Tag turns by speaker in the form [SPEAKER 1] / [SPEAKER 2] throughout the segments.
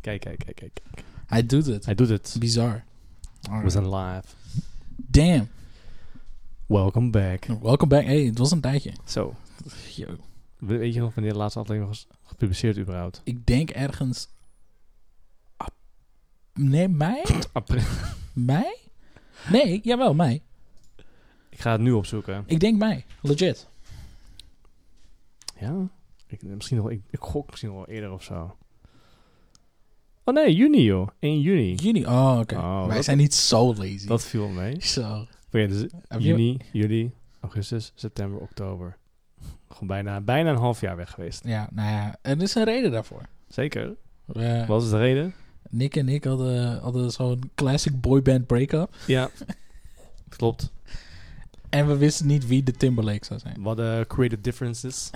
[SPEAKER 1] Kijk, kijk, kijk, kijk.
[SPEAKER 2] Hij doet het.
[SPEAKER 1] Hij doet het.
[SPEAKER 2] Bizar.
[SPEAKER 1] We zijn live.
[SPEAKER 2] Damn.
[SPEAKER 1] Welcome back. Zo.
[SPEAKER 2] Welkom back. Hey, het was een tijdje. Yo.
[SPEAKER 1] We- Weet je nog wanneer de laatste aflevering was gepubliceerd überhaupt?
[SPEAKER 2] Ik denk ergens... ap- Nee, mei?
[SPEAKER 1] April.
[SPEAKER 2] Mei? Nee, jawel, mei.
[SPEAKER 1] Ik ga het nu opzoeken.
[SPEAKER 2] Ik denk mei. Legit.
[SPEAKER 1] Ja? Ik, misschien nog, ik, ik gok misschien nog wel eerder of zo. Oh nee, juni joh. 1 juni.
[SPEAKER 2] Juni. Oh, oké.
[SPEAKER 1] Oh,
[SPEAKER 2] Wij
[SPEAKER 1] dat-
[SPEAKER 2] zijn niet zo lazy.
[SPEAKER 1] Dat viel mee.
[SPEAKER 2] Zo.
[SPEAKER 1] Maar ja, dus
[SPEAKER 2] Heb je-
[SPEAKER 1] juni, juli, augustus, september, oktober. Gewoon bijna, bijna een half jaar weg geweest.
[SPEAKER 2] Ja, nou ja. Er is een reden daarvoor.
[SPEAKER 1] Zeker.
[SPEAKER 2] We-
[SPEAKER 1] Wat is de reden?
[SPEAKER 2] Nick en ik hadden, hadden zo'n classic boyband break-up.
[SPEAKER 1] Ja. Klopt.
[SPEAKER 2] En we wisten niet wie de Timberlake zou zijn.
[SPEAKER 1] Wat hadden creative differences.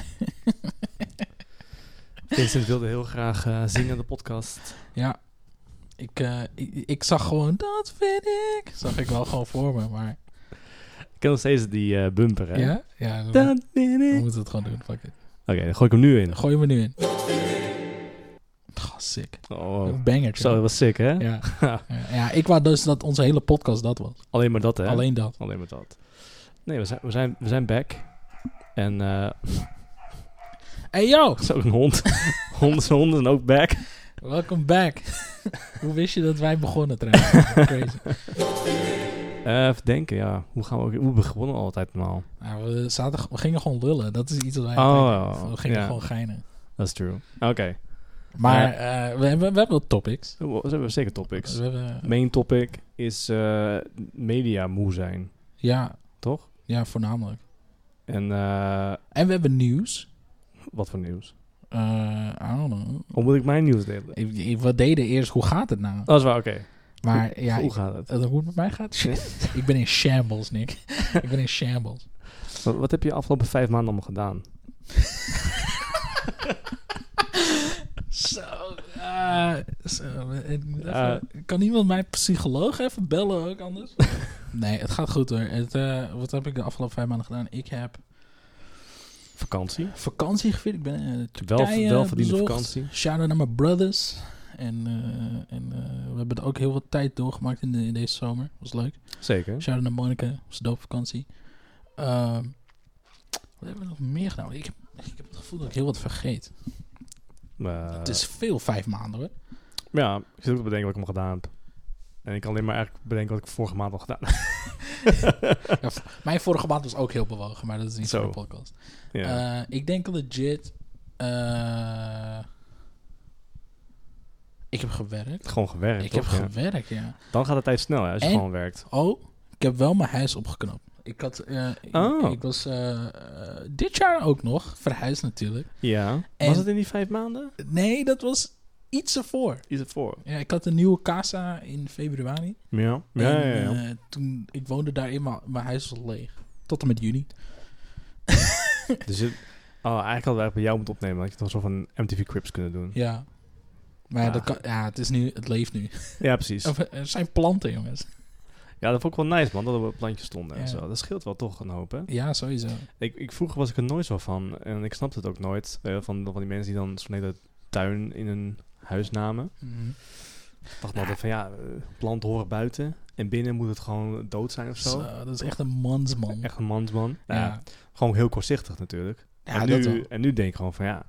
[SPEAKER 1] Vincent wilde heel graag eh, zingen in de podcast.
[SPEAKER 2] Ja. Ik, eh, ik, ik zag gewoon, dat vind ik. Zag ik wel gewoon voor me, maar...
[SPEAKER 1] Ik ken nog steeds die eh, bumper, hè?
[SPEAKER 2] Ja? Oh. Ja, dan,
[SPEAKER 1] Dat ben
[SPEAKER 2] we
[SPEAKER 1] ik.
[SPEAKER 2] moeten het gewoon doen. Fuck it.
[SPEAKER 1] Oké, dan gooi ik hem nu in.
[SPEAKER 2] Gooi me nu in. Oh, sick.
[SPEAKER 1] Oh,
[SPEAKER 2] Banger.
[SPEAKER 1] zo, dat was sick, hè?
[SPEAKER 2] Ja. ja. ja, ik wou dus dat onze hele podcast dat was.
[SPEAKER 1] Alleen maar dat, hè?
[SPEAKER 2] Alleen dat.
[SPEAKER 1] Alleen maar dat. Nee, we zijn, we zijn, we zijn back. En eh,
[SPEAKER 2] Hey yo,
[SPEAKER 1] zo een hond. Honden zijn honden zijn ook back.
[SPEAKER 2] welcome back. Hoe wist je dat wij begonnen trouwens? Crazy.
[SPEAKER 1] Eh, even denken, ja. Hoe gaan we ook... Hoe hebben we gewonnen altijd normaal?
[SPEAKER 2] Nou, we, zaten, we gingen gewoon lullen. Dat is iets wat wij
[SPEAKER 1] Oh,
[SPEAKER 2] altijd doen. We gingen
[SPEAKER 1] ja.
[SPEAKER 2] gewoon geinen.
[SPEAKER 1] That's true. Oké.
[SPEAKER 2] Maar eh, we, hebben, we hebben wel topics.
[SPEAKER 1] Zo, we hebben zeker topics.
[SPEAKER 2] We hebben,
[SPEAKER 1] Main topic is eh, media moe zijn,
[SPEAKER 2] ja,
[SPEAKER 1] toch?
[SPEAKER 2] ja, voornamelijk.
[SPEAKER 1] En eh,
[SPEAKER 2] En we hebben nieuws.
[SPEAKER 1] wat voor nieuws?
[SPEAKER 2] Eh, I don't know.
[SPEAKER 1] Hoe moet ik mijn nieuws delen?
[SPEAKER 2] Ik- ik- We deden eerst, hoe gaat het nou?
[SPEAKER 1] Dat is waar, oké.
[SPEAKER 2] Maar ja,
[SPEAKER 1] Oh. Hoe
[SPEAKER 2] ik,
[SPEAKER 1] gaat het?
[SPEAKER 2] eh, hoe het met mij gaat? ik ben in shambles, Nick. ik ben in shambles.
[SPEAKER 1] Wat, wat heb je de afgelopen vijf maanden allemaal gedaan?
[SPEAKER 2] Zo. eh, zo, eh, ik moet
[SPEAKER 1] Eh.
[SPEAKER 2] even- kan iemand mijn psycholoog even bellen ook anders? nee, het gaat goed hoor. Het, eh, wat heb ik de afgelopen vijf maanden gedaan? Ik heb
[SPEAKER 1] Vakantie?
[SPEAKER 2] vakantie gevierd. Ik ben in
[SPEAKER 1] Wel,
[SPEAKER 2] Turkije
[SPEAKER 1] welverdiende
[SPEAKER 2] bezocht.
[SPEAKER 1] vakantie.
[SPEAKER 2] Shout-out naar mijn brothers. En, eh, en eh, we hebben er ook heel wat tijd doorgemaakt in, de- in deze zomer. Was leuk.
[SPEAKER 1] Zeker.
[SPEAKER 2] Shout-out naar Monica. Was een dope vakantie. Ehm, wat hebben we nog meer gedaan? Ik heb, ik heb het gevoel dat ik heel wat vergeet.
[SPEAKER 1] Maar,
[SPEAKER 2] het is veel vijf maanden hoor.
[SPEAKER 1] Ja, ik zit ook te bedenken wat ik allemaal gedaan heb. En ik kan alleen maar eigenlijk bedenken wat ik vorige maand al gedaan heb.
[SPEAKER 2] Mijn vorige maand was ook heel bewogen, maar dat is niet
[SPEAKER 1] Zo.
[SPEAKER 2] zo'n podcast.
[SPEAKER 1] Ja.
[SPEAKER 2] Eh, ik denk legit... eh, ik heb gewerkt.
[SPEAKER 1] gewoon gewerkt,
[SPEAKER 2] Ik heb
[SPEAKER 1] toch? Ja.
[SPEAKER 2] gewerkt, ja.
[SPEAKER 1] Dan gaat de tijd snel, hè, als je
[SPEAKER 2] En-
[SPEAKER 1] gewoon werkt.
[SPEAKER 2] Oh, ik heb wel mijn huis opgeknapt. Ik had, eh, ik-
[SPEAKER 1] Oh.
[SPEAKER 2] ik, was eh, eh, dit jaar ook nog verhuisd natuurlijk.
[SPEAKER 1] Ja.
[SPEAKER 2] En-
[SPEAKER 1] Was het in die vijf maanden?
[SPEAKER 2] Nee, dat was iets ervoor.
[SPEAKER 1] Is het voor?
[SPEAKER 2] Ja, ik had een nieuwe casa in februari.
[SPEAKER 1] Ja. Ja, ja,
[SPEAKER 2] En,
[SPEAKER 1] ja.
[SPEAKER 2] eh, toen, ik woonde daarin, maar mijn huis was leeg. Tot en met juni.
[SPEAKER 1] Dus het, oh, eigenlijk hadden we eigenlijk bij jou moeten opnemen. Dat je het alsof een MTV Crips kunnen doen. Ja,
[SPEAKER 2] Ja. Maar
[SPEAKER 1] Ja.
[SPEAKER 2] Dat kan, ja, het, is nu, het leeft nu.
[SPEAKER 1] precies.
[SPEAKER 2] Of, eh, Er zijn planten, jongens.
[SPEAKER 1] Ja, dat vond ik wel nice, man. Dat we op plantjes stonden en
[SPEAKER 2] Ja.
[SPEAKER 1] zo. Dat scheelt wel toch een hoop, hè?
[SPEAKER 2] Ja, sowieso.
[SPEAKER 1] Ik, ik, vroeger was ik er nooit zo van. En ik snapte het ook nooit. eh, van, van die mensen die dan zo'n hele tuin in hun huis namen.
[SPEAKER 2] Mhm.
[SPEAKER 1] Ik dacht altijd van, ja, eh, planten horen buiten. En binnen moet het gewoon dood zijn of zo.
[SPEAKER 2] Zo, dat is echt een mansman.
[SPEAKER 1] Echt een mansman.
[SPEAKER 2] ja.
[SPEAKER 1] Ja, Gewoon heel kortzichtig natuurlijk.
[SPEAKER 2] Ja,
[SPEAKER 1] en,
[SPEAKER 2] dat
[SPEAKER 1] nu,
[SPEAKER 2] wel.
[SPEAKER 1] en nu denk ik gewoon van, ja,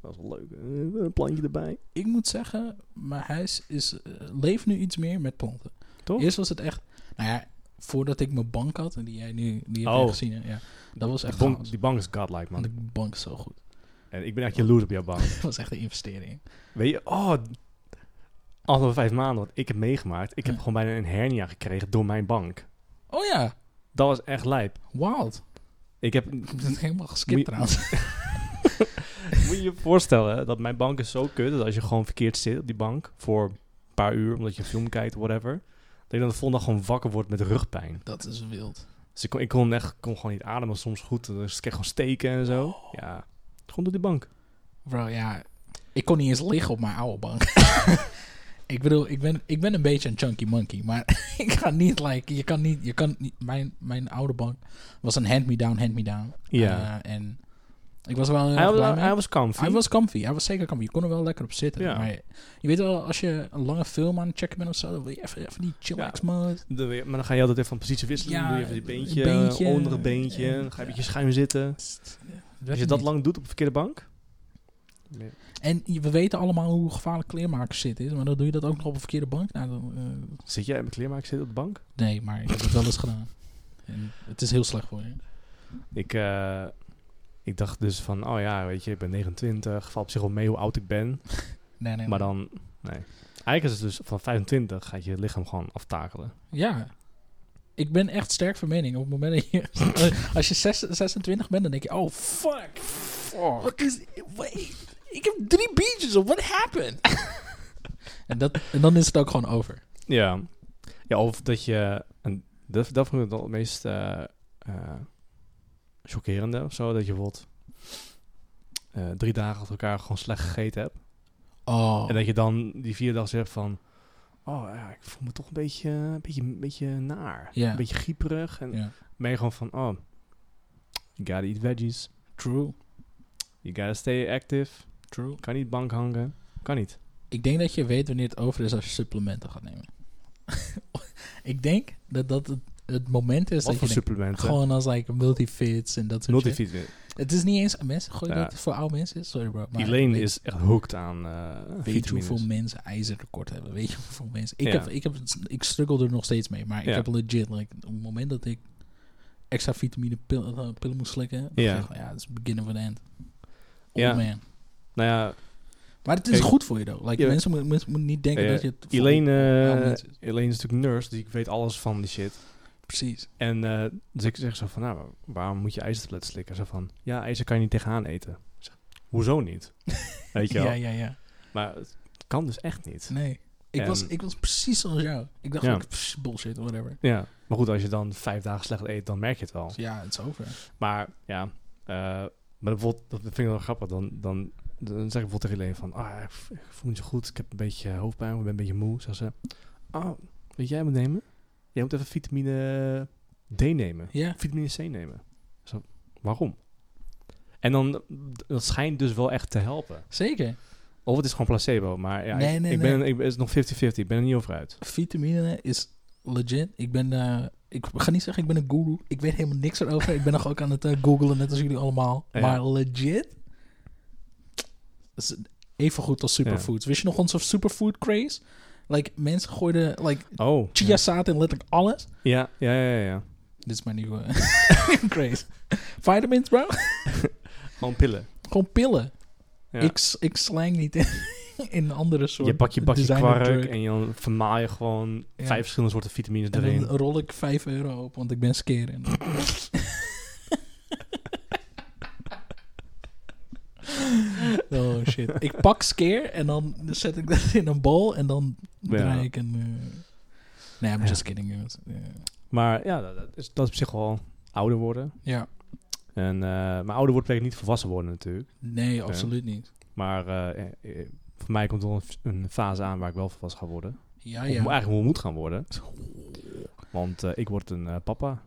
[SPEAKER 1] dat is wel leuk. Eh, een plantje erbij.
[SPEAKER 2] Ik moet zeggen, mijn huis is, eh, leeft nu iets meer met planten.
[SPEAKER 1] Toch?
[SPEAKER 2] Eerst was het echt... Nou ja, voordat ik mijn bank had, en die jij nu die heb jij
[SPEAKER 1] Oh.
[SPEAKER 2] gezien. hè, Ja, dat was echt
[SPEAKER 1] die, bank,
[SPEAKER 2] chaos.
[SPEAKER 1] die bank is godlike,
[SPEAKER 2] Want
[SPEAKER 1] man.
[SPEAKER 2] de bank is zo goed.
[SPEAKER 1] En ik ben echt jaloers op jouw bank.
[SPEAKER 2] Dat was echt een investering.
[SPEAKER 1] Weet je, oh, afgelopen vijf maanden wat ik heb meegemaakt. Ik heb
[SPEAKER 2] Ja.
[SPEAKER 1] gewoon bijna een hernia gekregen door mijn bank.
[SPEAKER 2] Oh ja,
[SPEAKER 1] Dat was echt lijp.
[SPEAKER 2] wild.
[SPEAKER 1] Ik heb,
[SPEAKER 2] Ik ben helemaal
[SPEAKER 1] Moet
[SPEAKER 2] geskipt
[SPEAKER 1] je-
[SPEAKER 2] trouwens.
[SPEAKER 1] moet je je voorstellen hè, dat mijn bank is zo kut dat als je gewoon verkeerd zit op die bank voor een paar uur, omdat je een film kijkt, whatever, dat je dan de volgende dag gewoon wakker wordt met rugpijn.
[SPEAKER 2] Dat is wild.
[SPEAKER 1] Dus ik kon, ik kon echt kon gewoon niet ademen soms goed. Dus ik kreeg gewoon steken en zo. Ja, gewoon door die bank.
[SPEAKER 2] Bro, ja. Ik kon niet eens liggen op mijn oude bank. ik bedoel, ik ben, ik ben een beetje een chunky monkey. Maar ik ga niet, like... Je kan niet... Je kan niet mijn, mijn oude bank was een hand-me-down, hand-me-down.
[SPEAKER 1] Ja.
[SPEAKER 2] Eh, en Ik was wel heel
[SPEAKER 1] Hij
[SPEAKER 2] erg blij
[SPEAKER 1] was,
[SPEAKER 2] mee.
[SPEAKER 1] hij was comfy.
[SPEAKER 2] Hij was comfy. Hij was zeker comfy. Je kon er wel lekker op zitten.
[SPEAKER 1] Ja.
[SPEAKER 2] Maar je weet wel, als je een lange film aan het checken bent of zo, dan wil je even, even die chillax mode.
[SPEAKER 1] Dan weer- maar dan ga je altijd even van positie wisselen.
[SPEAKER 2] Ja,
[SPEAKER 1] dan doe je even die
[SPEAKER 2] een
[SPEAKER 1] beentje,
[SPEAKER 2] beentje. eh,
[SPEAKER 1] beentje onder een beentje.
[SPEAKER 2] Ja.
[SPEAKER 1] dan ga je een beetje schuin zitten. Als je dat lang doet op de verkeerde bank.
[SPEAKER 2] En je- we weten allemaal hoe gevaarlijk kleermakers zitten is, maar dan doe je dat ook nog op een verkeerde bank. Nou, dan, eh,
[SPEAKER 1] Zit jij met kleermaak zitten op de bank?
[SPEAKER 2] nee, maar ik heb het wel eens gedaan. En het is heel slecht voor je.
[SPEAKER 1] Ik, eh, ik dacht dus van, oh ja, weet je, ik ben 29. Valt op zich wel mee hoe oud ik ben.
[SPEAKER 2] Nee, nee.
[SPEAKER 1] Maar dan, nee. Eigenlijk is het dus van 25 gaat je lichaam gewoon aftakelen.
[SPEAKER 2] Ja. Ik ben echt sterk van mening. Op het moment dat je... als je zes- 26 bent, dan denk je... Oh, fuck. Wat is... Wait. Ik heb drie biertjes op. What happened? en, dat, en dan is het ook gewoon over.
[SPEAKER 1] Ja. Ja, of dat je... En dat, dat vond ik het al het meest eh, eh, chockerende of zo. Dat je bijvoorbeeld eh, drie dagen achter elkaar gewoon slecht gegeten hebt.
[SPEAKER 2] Oh.
[SPEAKER 1] En dat je dan die vier dag zegt van... Oh ja, ik voel me toch een beetje, een beetje, een beetje naar.
[SPEAKER 2] Ja.
[SPEAKER 1] Een beetje grieperig. En
[SPEAKER 2] Ja.
[SPEAKER 1] ben je gewoon van... Oh, you gotta eat veggies.
[SPEAKER 2] True.
[SPEAKER 1] You gotta stay active.
[SPEAKER 2] True.
[SPEAKER 1] Kan niet bank hangen. Kan niet.
[SPEAKER 2] Ik denk dat je weet wanneer het over is als je supplementen gaat nemen. ik denk dat dat het, het moment
[SPEAKER 1] Wat
[SPEAKER 2] is dat je
[SPEAKER 1] voor
[SPEAKER 2] denkt,
[SPEAKER 1] supplementen?
[SPEAKER 2] gewoon als like multifits en dat soort shit.
[SPEAKER 1] Multivitamin.
[SPEAKER 2] Het is niet eens mensen gooien
[SPEAKER 1] Ja.
[SPEAKER 2] dat voor oude mensen. is? Sorry bro. maar
[SPEAKER 1] Elaine
[SPEAKER 2] weet-
[SPEAKER 1] is echt hooked aan eh
[SPEAKER 2] Weet je
[SPEAKER 1] vitamines.
[SPEAKER 2] hoeveel mensen ijzertekort hebben? Weet je hoeveel mensen? Ik,
[SPEAKER 1] Ja.
[SPEAKER 2] heb, ik, heb, ik struggle er nog steeds mee, maar ik
[SPEAKER 1] Ja.
[SPEAKER 2] heb legit, like, op het moment dat ik extra vitamine pil- eh, pillen moest slikken, dan
[SPEAKER 1] Ja.
[SPEAKER 2] zeg ik, ja, het is beginnen van end. Oh
[SPEAKER 1] Ja.
[SPEAKER 2] man.
[SPEAKER 1] Nou ja,
[SPEAKER 2] Maar het is
[SPEAKER 1] Kijk,
[SPEAKER 2] goed voor je, though. Like,
[SPEAKER 1] ja.
[SPEAKER 2] mensen moeten mensen moeten niet denken
[SPEAKER 1] Eh,
[SPEAKER 2] dat je het... voor-
[SPEAKER 1] Elaine,
[SPEAKER 2] Ja,
[SPEAKER 1] eh,
[SPEAKER 2] mensen.
[SPEAKER 1] Elaine is natuurlijk nurse, dus ik weet alles van die shit.
[SPEAKER 2] Precies.
[SPEAKER 1] En eh, dus ik zeg zo van, nou, waarom moet je ijzertabletten slikken? Zo van, ja, ijzer kan je niet tegenaan eten. Ik zeg, Hoezo niet? weet je wel?
[SPEAKER 2] Ja, ja, ja.
[SPEAKER 1] Maar het kan dus echt niet.
[SPEAKER 2] Nee. Ik,
[SPEAKER 1] En-
[SPEAKER 2] was, ik was precies zoals jou. Ik dacht,
[SPEAKER 1] Ja.
[SPEAKER 2] ook, pff, bullshit, whatever.
[SPEAKER 1] Ja, maar goed, als je dan vijf dagen slecht eet, dan merk je het wel.
[SPEAKER 2] Dus ja, het is over.
[SPEAKER 1] Maar ja, eh, maar bijvoorbeeld, dat vind ik wel grappig. Dan, dan, dan zeg ik bijvoorbeeld tegen iedereen van, ah, ik v- ik voel me niet zo goed. Ik heb een beetje hoofdpijn, ik ben een beetje moe. Zeg ze, oh, weet jij moet nemen? Jij moet even vitamine D nemen.
[SPEAKER 2] Ja.
[SPEAKER 1] Vitamine C nemen. Zo, waarom? En dan, dat schijnt dus wel echt te helpen.
[SPEAKER 2] Zeker.
[SPEAKER 1] Of het is gewoon placebo, maar ja,
[SPEAKER 2] Nee,
[SPEAKER 1] ik,
[SPEAKER 2] nee,
[SPEAKER 1] ik ben, ik, het is nog 50-50, ik ben er niet over uit.
[SPEAKER 2] vitamine is legit. Ik ben, eh, ik ga niet zeggen ik ben een guru. Ik weet helemaal niks erover. ik ben nog ook aan het eh, googlen, net als jullie allemaal.
[SPEAKER 1] Ja.
[SPEAKER 2] Maar legit, is het even goed als superfoods. Wist je nog onze superfood craze? Like, mensen gooiden like,
[SPEAKER 1] Oh. ja.
[SPEAKER 2] chiazaad in letterlijk alles.
[SPEAKER 1] Ja, ja, ja, ja, ja.
[SPEAKER 2] Dit is mijn nieuwe craze. Vitamins, bro.
[SPEAKER 1] Gewoon pillen.
[SPEAKER 2] Gewoon pillen.
[SPEAKER 1] Ja.
[SPEAKER 2] Ik, s- ik slang niet in, in andere soorten
[SPEAKER 1] je pakt je bakje
[SPEAKER 2] designer
[SPEAKER 1] kwark
[SPEAKER 2] drug.
[SPEAKER 1] en je dan vermaal je gewoon
[SPEAKER 2] Ja.
[SPEAKER 1] vijf verschillende soorten vitamines
[SPEAKER 2] En
[SPEAKER 1] erin.
[SPEAKER 2] dan rol ik 5 euro op, want ik ben skeren. oh shit. Ik pak skeer en dan zet ik dat in een bol en dan
[SPEAKER 1] Ja.
[SPEAKER 2] draai ik een... eh, Nee, I'm
[SPEAKER 1] Ja.
[SPEAKER 2] just kidding. jongens. Eh,
[SPEAKER 1] Maar ja, dat, dat is, dat is op zich wel ouder worden.
[SPEAKER 2] Ja.
[SPEAKER 1] En, eh, maar ouder worden betekent niet volwassen worden natuurlijk.
[SPEAKER 2] Nee, absoluut niet.
[SPEAKER 1] Maar eh, eh, eh, voor mij komt er wel een- een fase aan waar ik wel volwassen ga worden.
[SPEAKER 2] Ja,
[SPEAKER 1] Of
[SPEAKER 2] Ah, ja.
[SPEAKER 1] eigenlijk hoe moet gaan worden. Want eh, ik word een eh, papa.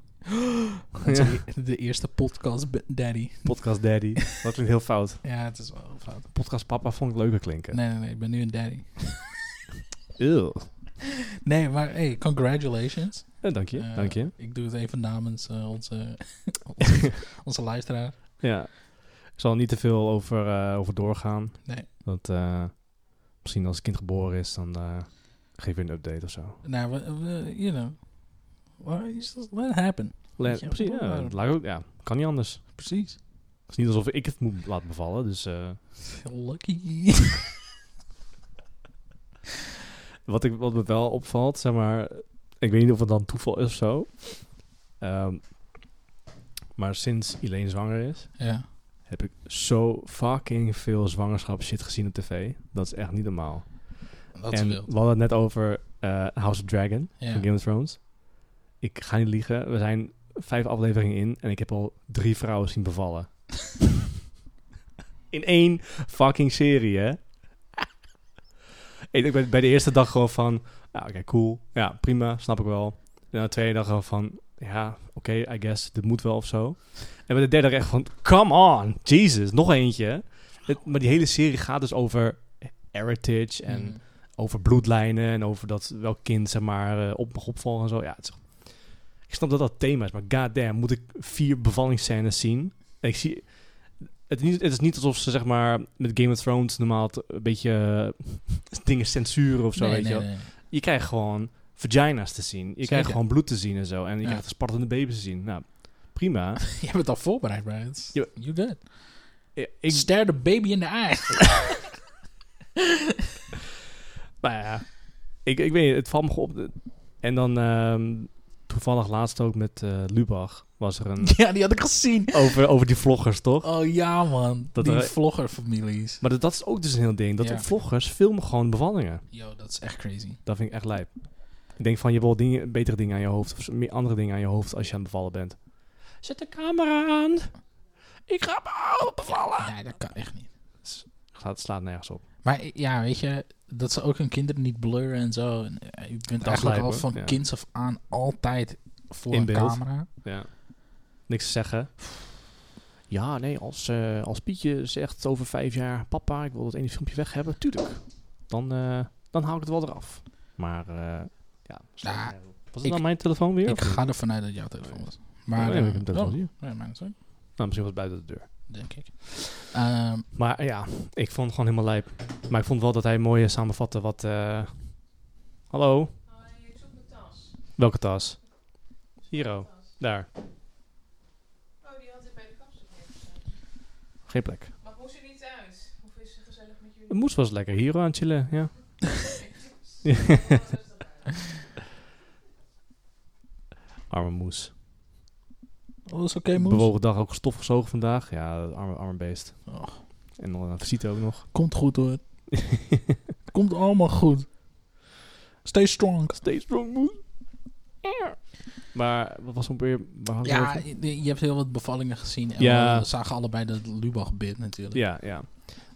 [SPEAKER 2] Dat is de- De eerste podcast, b- daddy.
[SPEAKER 1] Podcast daddy. Dat klinkt heel fout.
[SPEAKER 2] Ja, het is wel heel fout.
[SPEAKER 1] Podcast papa vond ik leuker klinken.
[SPEAKER 2] Nee, nee, nee. Ik ben nu een daddy.
[SPEAKER 1] Ew.
[SPEAKER 2] Nee, maar hey, congratulations.
[SPEAKER 1] Eh, dank je,
[SPEAKER 2] Eh,
[SPEAKER 1] dank je.
[SPEAKER 2] Ik doe het even namens eh, onze, onze, onze luisteraar.
[SPEAKER 1] Ja. Ik zal er niet te veel over, eh, over doorgaan.
[SPEAKER 2] Nee.
[SPEAKER 1] Dat eh, misschien als het kind geboren is, dan eh geef je een update of zo.
[SPEAKER 2] Nou, we, we- you know. Why is this- Let it happen.
[SPEAKER 1] Le-
[SPEAKER 2] je,
[SPEAKER 1] precies,
[SPEAKER 2] waarom-
[SPEAKER 1] ja,
[SPEAKER 2] waarom?
[SPEAKER 1] dat lijkt ook, ja, kan niet anders.
[SPEAKER 2] Precies.
[SPEAKER 1] Het is niet alsof ik het moet laten bevallen, dus... eh,
[SPEAKER 2] Lucky.
[SPEAKER 1] wat, ik, wat me wel opvalt, zeg maar... Ik weet niet of het dan toeval is of zo. Ehm, maar sinds Elaine zwanger is,
[SPEAKER 2] ja.
[SPEAKER 1] heb ik zo fucking veel zwangerschap shit gezien op tv. Dat is echt niet normaal.
[SPEAKER 2] Dat is
[SPEAKER 1] en
[SPEAKER 2] wild.
[SPEAKER 1] we hadden het net over eh, House of Dragon. van
[SPEAKER 2] Ja.
[SPEAKER 1] Game of Thrones. Ik ga niet liegen. We zijn vijf afleveringen in en ik heb al drie vrouwen zien bevallen. in één fucking serie, hè? ah, ik denk bij- bij de eerste dag gewoon van... Ja, oké, cool. Ja, prima. Snap ik wel. En de tweede dag al van, ja, oké, I guess, dit moet wel of zo. En bij de derde dag echt van, come on, Jesus, nog eentje. Het- maar die hele serie gaat dus over heritage en
[SPEAKER 2] Mm.
[SPEAKER 1] over bloedlijnen en over dat welk kind, zeg maar, eh, op mag opvallen en zo. Ja, het is- ik snap dat dat thema is, maar goddamn, moet ik vier bevallingsscènes zien? En ik zie... Het is, niet, het is niet alsof ze, zeg maar, met Game of Thrones normaal het een beetje eh, dingen censuren of zo,
[SPEAKER 2] Nee,
[SPEAKER 1] weet
[SPEAKER 2] nee,
[SPEAKER 1] je wel
[SPEAKER 2] nee.
[SPEAKER 1] je krijgt gewoon vagina's te zien. Je krijgt gewoon bloed te zien en zo. En je
[SPEAKER 2] Ja.
[SPEAKER 1] krijgt spartende baby's te zien. Nou, prima.
[SPEAKER 2] Je bent al voorbereid, Brian. It's-
[SPEAKER 1] Ja.
[SPEAKER 2] You good.
[SPEAKER 1] Eh,
[SPEAKER 2] Ik
[SPEAKER 1] ik,
[SPEAKER 2] stare the baby in the eye.
[SPEAKER 1] nou ja, ik, ik weet niet, het valt me op. En dan ehm, toevallig laatst ook met eh, Lubach was er een...
[SPEAKER 2] ja, die had ik gezien.
[SPEAKER 1] over, over die vloggers, toch?
[SPEAKER 2] Oh ja, man.
[SPEAKER 1] Dat
[SPEAKER 2] die
[SPEAKER 1] er-
[SPEAKER 2] vloggerfamilies.
[SPEAKER 1] Maar dat, dat is ook dus een heel ding. Dat
[SPEAKER 2] Ja.
[SPEAKER 1] vloggers filmen gewoon bevallingen.
[SPEAKER 2] Yo, dat is echt crazy.
[SPEAKER 1] Dat vind ik echt lijp. Ik denk van, je hebt wel dingen, betere dingen aan je hoofd... of meer andere dingen aan je hoofd als je aan het bevallen bent. Zet de camera aan. Ik ga me bevallen.
[SPEAKER 2] Nee, dat kan echt niet.
[SPEAKER 1] Het slaat nergens op.
[SPEAKER 2] Maar eh, ja, weet je, dat ze ook hun kinderen niet blurren en zo. En, eh, je bent eigenlijk
[SPEAKER 1] lijp,
[SPEAKER 2] al
[SPEAKER 1] hoor.
[SPEAKER 2] van
[SPEAKER 1] Ja.
[SPEAKER 2] kinds af aan altijd voor
[SPEAKER 1] In
[SPEAKER 2] een
[SPEAKER 1] beeld.
[SPEAKER 2] camera.
[SPEAKER 1] Ja. Niks te zeggen. Ja, nee, als, eh, als Pietje zegt over vijf jaar... Papa, ik wil dat ene filmpje weg hebben. Tuurlijk. Dan, eh, dan haal ik het wel eraf. Maar, eh, ja. slaat
[SPEAKER 2] Nou,
[SPEAKER 1] nergens op. Was het
[SPEAKER 2] ik-
[SPEAKER 1] nou mijn telefoon weer?
[SPEAKER 2] Ik
[SPEAKER 1] of niet?
[SPEAKER 2] ga ervan uit dat jouw telefoon was.
[SPEAKER 1] Oh,
[SPEAKER 2] Maar,
[SPEAKER 1] nee,
[SPEAKER 2] eh,
[SPEAKER 1] ik heb een telefoon
[SPEAKER 2] oh,
[SPEAKER 1] hier.
[SPEAKER 2] nee, mijn is ook,
[SPEAKER 1] Nou, misschien was het buiten de deur.
[SPEAKER 2] denk ik. Ehm,
[SPEAKER 1] Maar eh, ja, ik vond het gewoon helemaal lijp. Maar ik vond wel dat hij mooi eh, samenvatte wat... eh, Hallo? Welke tas? Hier, oh. Daar.
[SPEAKER 3] Oh, die had ik bij de kapsel
[SPEAKER 1] Geen plek.
[SPEAKER 3] Maar hoe ze niet uit? Hoe is ze gezellig met
[SPEAKER 1] De
[SPEAKER 3] jullie?
[SPEAKER 1] moes was lekker. Hier, oh, aan het chillen, ja. Arme moes.
[SPEAKER 2] oh, is oké, Moes?
[SPEAKER 1] Bewogen dag ook stof gezogen vandaag. Ja, arme, arme beest.
[SPEAKER 2] Och.
[SPEAKER 1] En dan een visite ook nog.
[SPEAKER 2] Komt goed hoor. Komt allemaal goed. Stay strong.
[SPEAKER 1] Steeds strong moe. Maar wat was ook weer... waar hadden we
[SPEAKER 2] Ja,
[SPEAKER 1] het over?
[SPEAKER 2] je je hebt heel wat bevallingen gezien. En
[SPEAKER 1] Ja.
[SPEAKER 2] we zagen allebei dat Lubach bid natuurlijk.
[SPEAKER 1] ja, ja.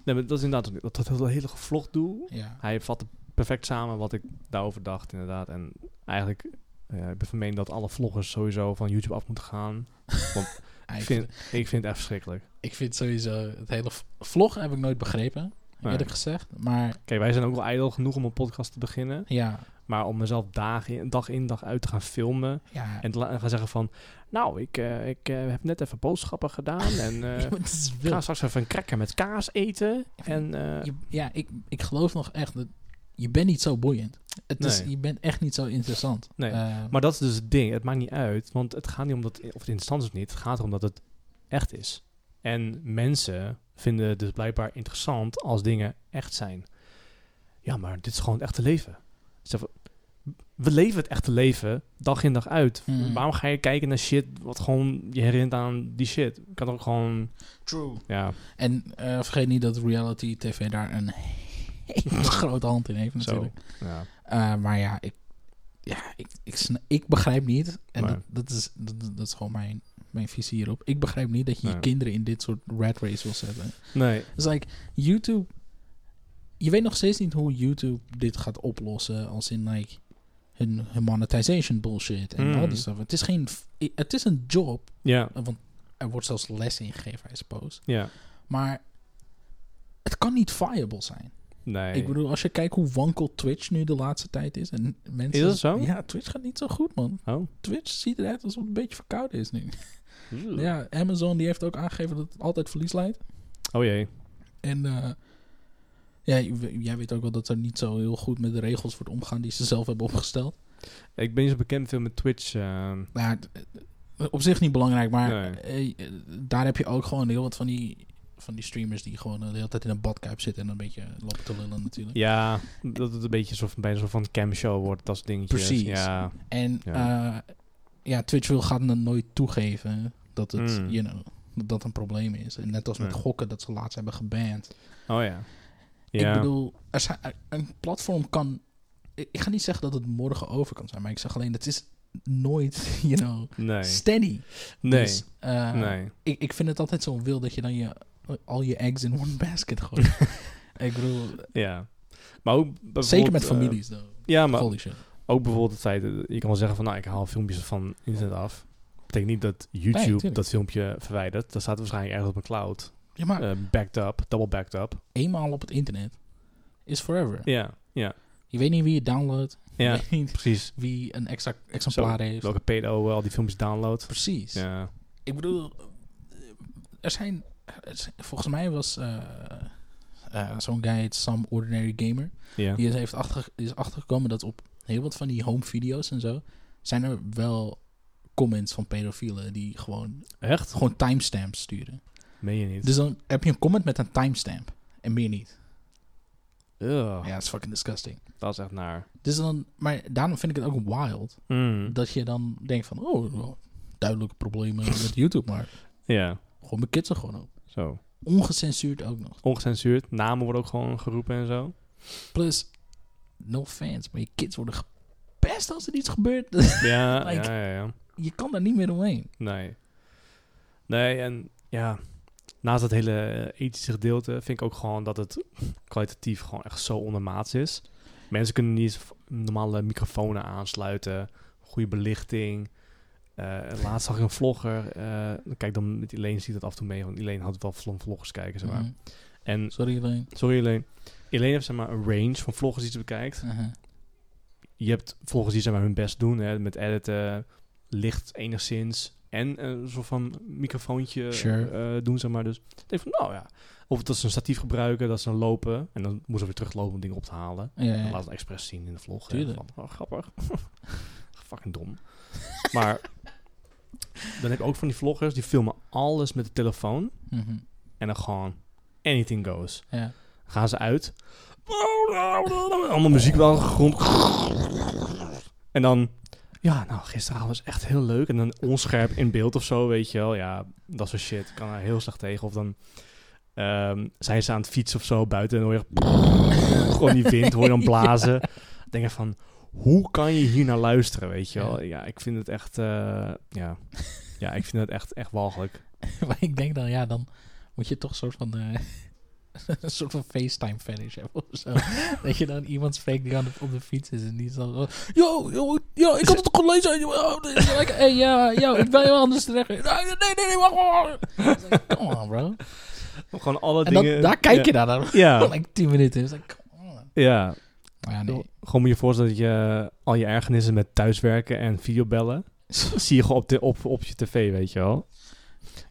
[SPEAKER 1] Nee, maar dat is inderdaad ook- dat, dat hele- hele gevlogd doel.
[SPEAKER 2] Ja.
[SPEAKER 1] Hij vatte perfect samen wat ik daarover dacht, inderdaad. En eigenlijk, eh, ik ben van mening dat alle vloggers sowieso van YouTube af moeten gaan.
[SPEAKER 2] Ja,
[SPEAKER 1] Ik
[SPEAKER 2] ik,
[SPEAKER 1] vind,
[SPEAKER 2] vind,
[SPEAKER 1] ik vind het echt verschrikkelijk.
[SPEAKER 2] ik vind sowieso het hele v- vlog heb ik nooit begrepen.
[SPEAKER 1] Nee.
[SPEAKER 2] Eerlijk gezegd. Maar
[SPEAKER 1] Kijk, wij zijn ook wel ijdel genoeg om een podcast te beginnen.
[SPEAKER 2] ja,
[SPEAKER 1] Maar om mezelf dagen in, dag in, dag uit te gaan filmen...
[SPEAKER 2] ja.
[SPEAKER 1] En te la- en gaan zeggen van... Nou, ik, eh, ik eh, heb net even boodschappen gedaan. En eh,
[SPEAKER 2] Ja, maar het is
[SPEAKER 1] ik
[SPEAKER 2] wild.
[SPEAKER 1] ga straks even een cracker met kaas eten. En eh,
[SPEAKER 2] Je- ja, ik, ik geloof nog echt dat je bent niet zo boeiend. Het is,
[SPEAKER 1] Nee.
[SPEAKER 2] je bent echt niet zo interessant.
[SPEAKER 1] Nee,
[SPEAKER 2] Eh,
[SPEAKER 1] Maar dat is dus het ding. Het maakt niet uit. Want het gaat niet om dat, of het interessant is of niet. Het gaat erom dat het echt is. En mensen vinden het dus blijkbaar interessant als dingen echt zijn. Ja, maar dit is gewoon het echte leven. Zo van, We leven het echte leven dag in dag uit.
[SPEAKER 2] Mm.
[SPEAKER 1] Waarom ga je kijken naar shit wat gewoon je herinnert aan die shit? Kan ook gewoon,
[SPEAKER 2] True.
[SPEAKER 1] ja,
[SPEAKER 2] En eh, vergeet niet dat reality tv daar een hele grote hand in heeft natuurlijk.
[SPEAKER 1] ja.
[SPEAKER 2] Eh, maar ja, ik, ja ik, ik, sna- ik begrijp niet. En
[SPEAKER 1] Nee.
[SPEAKER 2] dat, dat, is, dat, dat- dat is gewoon mijn, mijn visie hierop. Ik begrijp niet dat je
[SPEAKER 1] Nee.
[SPEAKER 2] je kinderen in dit soort rat race wil zetten.
[SPEAKER 1] Nee,
[SPEAKER 2] Het is like, YouTube... Je weet nog steeds niet hoe YouTube dit gaat oplossen. Als in, like, hun, hun monetization bullshit en
[SPEAKER 1] Mm.
[SPEAKER 2] al die stuff. Het is geen... f- Het is een job.
[SPEAKER 1] ja,
[SPEAKER 2] Want er wordt zelfs les ingegeven, I suppose.
[SPEAKER 1] ja,
[SPEAKER 2] Maar het kan niet viable zijn.
[SPEAKER 1] nee.
[SPEAKER 2] Ik bedoel, als je kijkt hoe wankel Twitch nu de laatste tijd is. En mensen,
[SPEAKER 1] Is dat zo?
[SPEAKER 2] Ja, Twitch gaat niet zo goed, man.
[SPEAKER 1] Oh.
[SPEAKER 2] Twitch ziet eruit alsof het een beetje verkouden is nu. Ja, Amazon die heeft ook aangegeven dat het altijd verlies leidt.
[SPEAKER 1] Oh jee.
[SPEAKER 2] En eh, ja, j- w- jij weet ook wel dat er niet zo heel goed met de regels wordt omgaan die ze zelf hebben opgesteld.
[SPEAKER 1] Ik ben niet zo bekend veel met Twitch. ehm,
[SPEAKER 2] Nou, d- eh, op zich niet belangrijk, maar
[SPEAKER 1] Nee.
[SPEAKER 2] eh, eh, daar heb je ook gewoon heel wat van die, van die streamers die gewoon eh, de hele tijd in een badkuip zitten en een beetje lopen te lullen natuurlijk.
[SPEAKER 1] ja, dat het een beetje zo van, bij zo'n van camshow wordt, dat soort dingetjes.
[SPEAKER 2] Precies.
[SPEAKER 1] Ja,
[SPEAKER 2] En
[SPEAKER 1] Ja.
[SPEAKER 2] ja, ja Twitch wil gaat dan nooit toegeven dat het,
[SPEAKER 1] Mm.
[SPEAKER 2] you know, dat dat een probleem is. En net als met
[SPEAKER 1] Nee.
[SPEAKER 2] gokken dat ze laatst hebben geband.
[SPEAKER 1] oh ja. Ja,
[SPEAKER 2] Ik bedoel, er zijn, er- een platform kan. Ik ik ga niet zeggen dat het morgen over kan zijn, maar ik zeg alleen dat is nooit, you know,
[SPEAKER 1] nee,
[SPEAKER 2] steady.
[SPEAKER 1] nee,
[SPEAKER 2] Dus, eh,
[SPEAKER 1] nee.
[SPEAKER 2] Ik, ik vind het altijd zo wild dat je dan je, al je eggs in one basket gooit. ik bedoel,
[SPEAKER 1] Ja. Maar ook bijvoorbeeld,
[SPEAKER 2] zeker met
[SPEAKER 1] eh,
[SPEAKER 2] families, though.
[SPEAKER 1] ja, maar
[SPEAKER 2] Holy shit.
[SPEAKER 1] ook ook bijvoorbeeld het feit, dat je kan wel zeggen van, nou, ik haal filmpjes van internet af. Betekent niet dat YouTube
[SPEAKER 2] tuurlijk.
[SPEAKER 1] dat filmpje verwijdert. Dat staat waarschijnlijk ergens op een cloud.
[SPEAKER 2] Ja, maar
[SPEAKER 1] eh, backed up, double backed up.
[SPEAKER 2] eenmaal op het internet is forever.
[SPEAKER 1] Ja, ja,
[SPEAKER 2] Je weet niet wie het downloadt. Je
[SPEAKER 1] ja.
[SPEAKER 2] weet niet
[SPEAKER 1] Precies.
[SPEAKER 2] wie een extra exemplaar heeft.
[SPEAKER 1] Welke pedo eh, al die filmpjes downloadt.
[SPEAKER 2] Precies.
[SPEAKER 1] Ja.
[SPEAKER 2] Ik bedoel, eh, er zijn, er zijn- volgens mij was eh, eh, zo'n guy, heet Some Ordinary Gamer,
[SPEAKER 1] Ja.
[SPEAKER 2] die is, heeft achter, die is achtergekomen dat op heel wat van die home video's en zo, zijn er wel comments van pedofielen die gewoon,
[SPEAKER 1] Echt?
[SPEAKER 2] gewoon timestamps sturen.
[SPEAKER 1] Meen je niet?
[SPEAKER 2] Dus dan heb je een comment met een timestamp en meer niet.
[SPEAKER 1] Ugh,
[SPEAKER 2] Ja, dat is fucking disgusting.
[SPEAKER 1] Dat is echt naar.
[SPEAKER 2] Dus dan, maar daarom vind ik het ook wild
[SPEAKER 1] Mm.
[SPEAKER 2] dat je dan denkt van, oh, wel duidelijke problemen met YouTube, maar
[SPEAKER 1] Ja,
[SPEAKER 2] gewoon mijn kids er gewoon op.
[SPEAKER 1] zo.
[SPEAKER 2] Ongecensuurd ook nog.
[SPEAKER 1] Ongecensuurd. Namen worden ook gewoon geroepen en zo.
[SPEAKER 2] Plus, no fans, maar je kids worden gepest als er iets gebeurt.
[SPEAKER 1] Ja,
[SPEAKER 2] Like-
[SPEAKER 1] ja, ja, ja.
[SPEAKER 2] je kan daar niet meer omheen.
[SPEAKER 1] Nee. Nee, en ja, naast dat hele eh, ethische gedeelte vind ik ook gewoon dat het kwalitatief gewoon echt zo ondermaats is. Mensen kunnen niet eens v- normale microfoons aansluiten, goede belichting. Eh, laatst zag ik een vlogger, eh, kijk dan met Elaine ziet dat af en toe mee, want Elaine had wel vlog- vloggers kijken, zeg maar.
[SPEAKER 2] Mhm.
[SPEAKER 1] En,
[SPEAKER 2] Sorry, alleen.
[SPEAKER 1] sorry Elaine, Elaine heeft zeg maar een range van vloggers die ze bekijkt je hebt volgens die zeg maar hun best doen hè, met editen, licht enigszins en eh, een soort van microfoontje
[SPEAKER 2] Sure.
[SPEAKER 1] eh, doen zeg maar. Dus ik denk van nou ja, of dat ze een statief gebruiken, dat ze dan lopen en dan moeten ze weer teruglopen om dingen op te halen.
[SPEAKER 2] Ja,
[SPEAKER 1] En
[SPEAKER 2] ja.
[SPEAKER 1] laat het expres zien in de vlog. hè,
[SPEAKER 2] Tuurlijk.
[SPEAKER 1] van, oh, grappig. Fucking dom. maar dan heb je ook van die vloggers die filmen alles met de telefoon
[SPEAKER 2] Mhm.
[SPEAKER 1] en dan gewoon anything goes
[SPEAKER 2] ja.
[SPEAKER 1] gaan ze uit. Allemaal muziek wel aan de grond. En dan, ja, nou, gisteravond was echt heel leuk. En dan onscherp in beeld of zo, weet je wel. Ja, dat soort shit. Kan er heel slecht tegen. Of dan ehm, zijn ze aan het fietsen of zo buiten. En hoor je gewoon die wind, hoor je dan blazen. Dan Denk je van, hoe kan je hier naar luisteren, weet je wel? Ja, ik vind het echt, eh, ja. Ja, ik vind het echt, echt walgelijk.
[SPEAKER 2] maar ik denk dan, ja, dan moet je toch een soort van... eh, een soort van FaceTime fetish hebben of zo. dat je dan iemand spreekt die aan de, op de fiets is en die is dan zo... Yo, yo, yo, ik had het toch gelezen. Yo, dit is lekker. hey, ja, yo, ik ben heel anders terecht. Nee, nee, nee, nee, wacht, wacht. It's like, Come on, bro.
[SPEAKER 1] Gewoon alle
[SPEAKER 2] En dan,
[SPEAKER 1] dingen.
[SPEAKER 2] daar kijk je
[SPEAKER 1] ja.
[SPEAKER 2] naar, dan.
[SPEAKER 1] Ja,
[SPEAKER 2] Like 10 minuten. It's like, come on.
[SPEAKER 1] ja.
[SPEAKER 2] Maar ja, nee.
[SPEAKER 1] Gewoon moet je voorstellen dat je eh, al je ergernissen met thuiswerken en videobellen... zie je gewoon op, de, op, op je tv, weet je wel.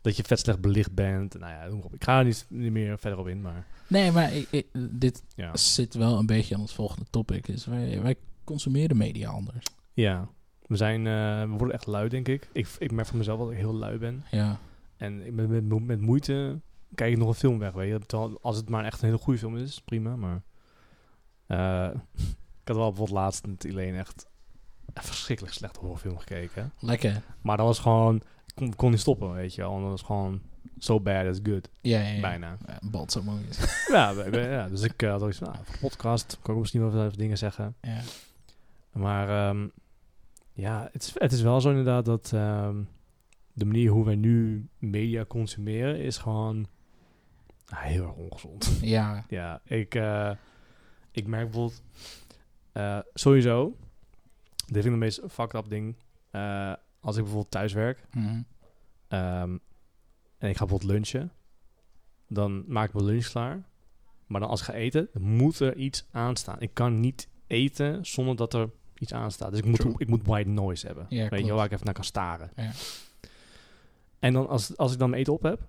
[SPEAKER 1] Dat je vet slecht belicht bent. Nou ja, noem maar op. ik ga er niet, niet meer verder op in, maar...
[SPEAKER 2] Nee, maar ik- ik- dit
[SPEAKER 1] Ja,
[SPEAKER 2] zit wel een beetje aan het volgende topic. Dus wij, wij consumeren media anders.
[SPEAKER 1] ja. We, zijn, eh, we worden echt lui, denk ik. ik. Ik merk van mezelf wel dat ik heel lui ben.
[SPEAKER 2] Ja.
[SPEAKER 1] En ik ben met, met, met moeite kijk ik nog een film weg, weet je. Terwijl Als het maar echt een hele goede film is, prima, maar... eh, ik had wel bijvoorbeeld laatst met Elaine echt... een verschrikkelijk slechte horrorfilm gekeken.
[SPEAKER 2] Lekker.
[SPEAKER 1] Maar dat was gewoon... Kon, kon niet stoppen, weet je wel. Want dat was gewoon... So bad is good.
[SPEAKER 2] Ja, ja, ja.
[SPEAKER 1] Bijna.
[SPEAKER 2] Ja, Bad zo mooi.
[SPEAKER 1] ja, we- we- ja, dus ik eh, had ook iets van... Nou, voor de podcast kan ik misschien wel even- even dingen zeggen.
[SPEAKER 2] Ja.
[SPEAKER 1] Maar ehm, ja, het is, het is wel zo inderdaad dat... ehm, de manier hoe wij nu media consumeren is gewoon... ah, heel erg ongezond.
[SPEAKER 2] ja.
[SPEAKER 1] ja, ik, eh, ik merk bijvoorbeeld... eh, sowieso... Dit vind ik het meest fucked up ding. eh, als ik bijvoorbeeld thuis werk...
[SPEAKER 2] Mhm.
[SPEAKER 1] Ehm, en ik ga bijvoorbeeld lunchen. Dan maak ik mijn lunch klaar. Maar dan als ik ga eten, dan moet er iets aanstaan. Ik kan niet eten zonder dat er iets aanstaat. Dus ik moet,
[SPEAKER 2] True.
[SPEAKER 1] ik moet white noise hebben.
[SPEAKER 2] Ja,
[SPEAKER 1] weet je,
[SPEAKER 2] klopt.
[SPEAKER 1] wel, waar ik even naar kan staren.
[SPEAKER 2] Ja.
[SPEAKER 1] En dan als, als ik dan mijn eten op heb,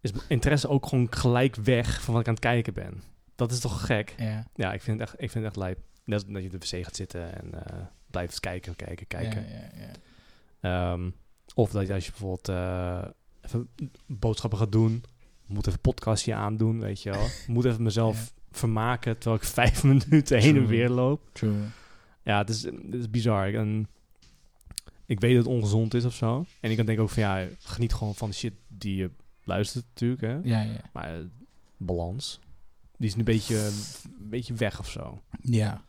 [SPEAKER 1] is mijn interesse ook gewoon gelijk weg van wat ik aan het kijken ben. Dat is toch gek?
[SPEAKER 2] Ja.
[SPEAKER 1] Ja, ik vind het echt, ik vind het echt lijp. Net als dat je op de wc gaat zitten en eh, blijft kijken, kijken, kijken.
[SPEAKER 2] Ja, ja, ja.
[SPEAKER 1] Ehm, of dat je als je bijvoorbeeld eh, even boodschappen gaat doen, moet even een podcastje aandoen, weet je wel. Moet even mezelf vermaken terwijl ik vijf minuten heen en
[SPEAKER 2] True.
[SPEAKER 1] weer loop.
[SPEAKER 2] True.
[SPEAKER 1] Ja, het is, het is bizar. Ik- En ik weet dat het ongezond is of zo. En ik denk ook van ja, geniet gewoon van de shit die je luistert natuurlijk. Hè?
[SPEAKER 2] Ja, ja.
[SPEAKER 1] Maar eh, balans, die is een beetje, een beetje weg of zo.
[SPEAKER 2] Ja.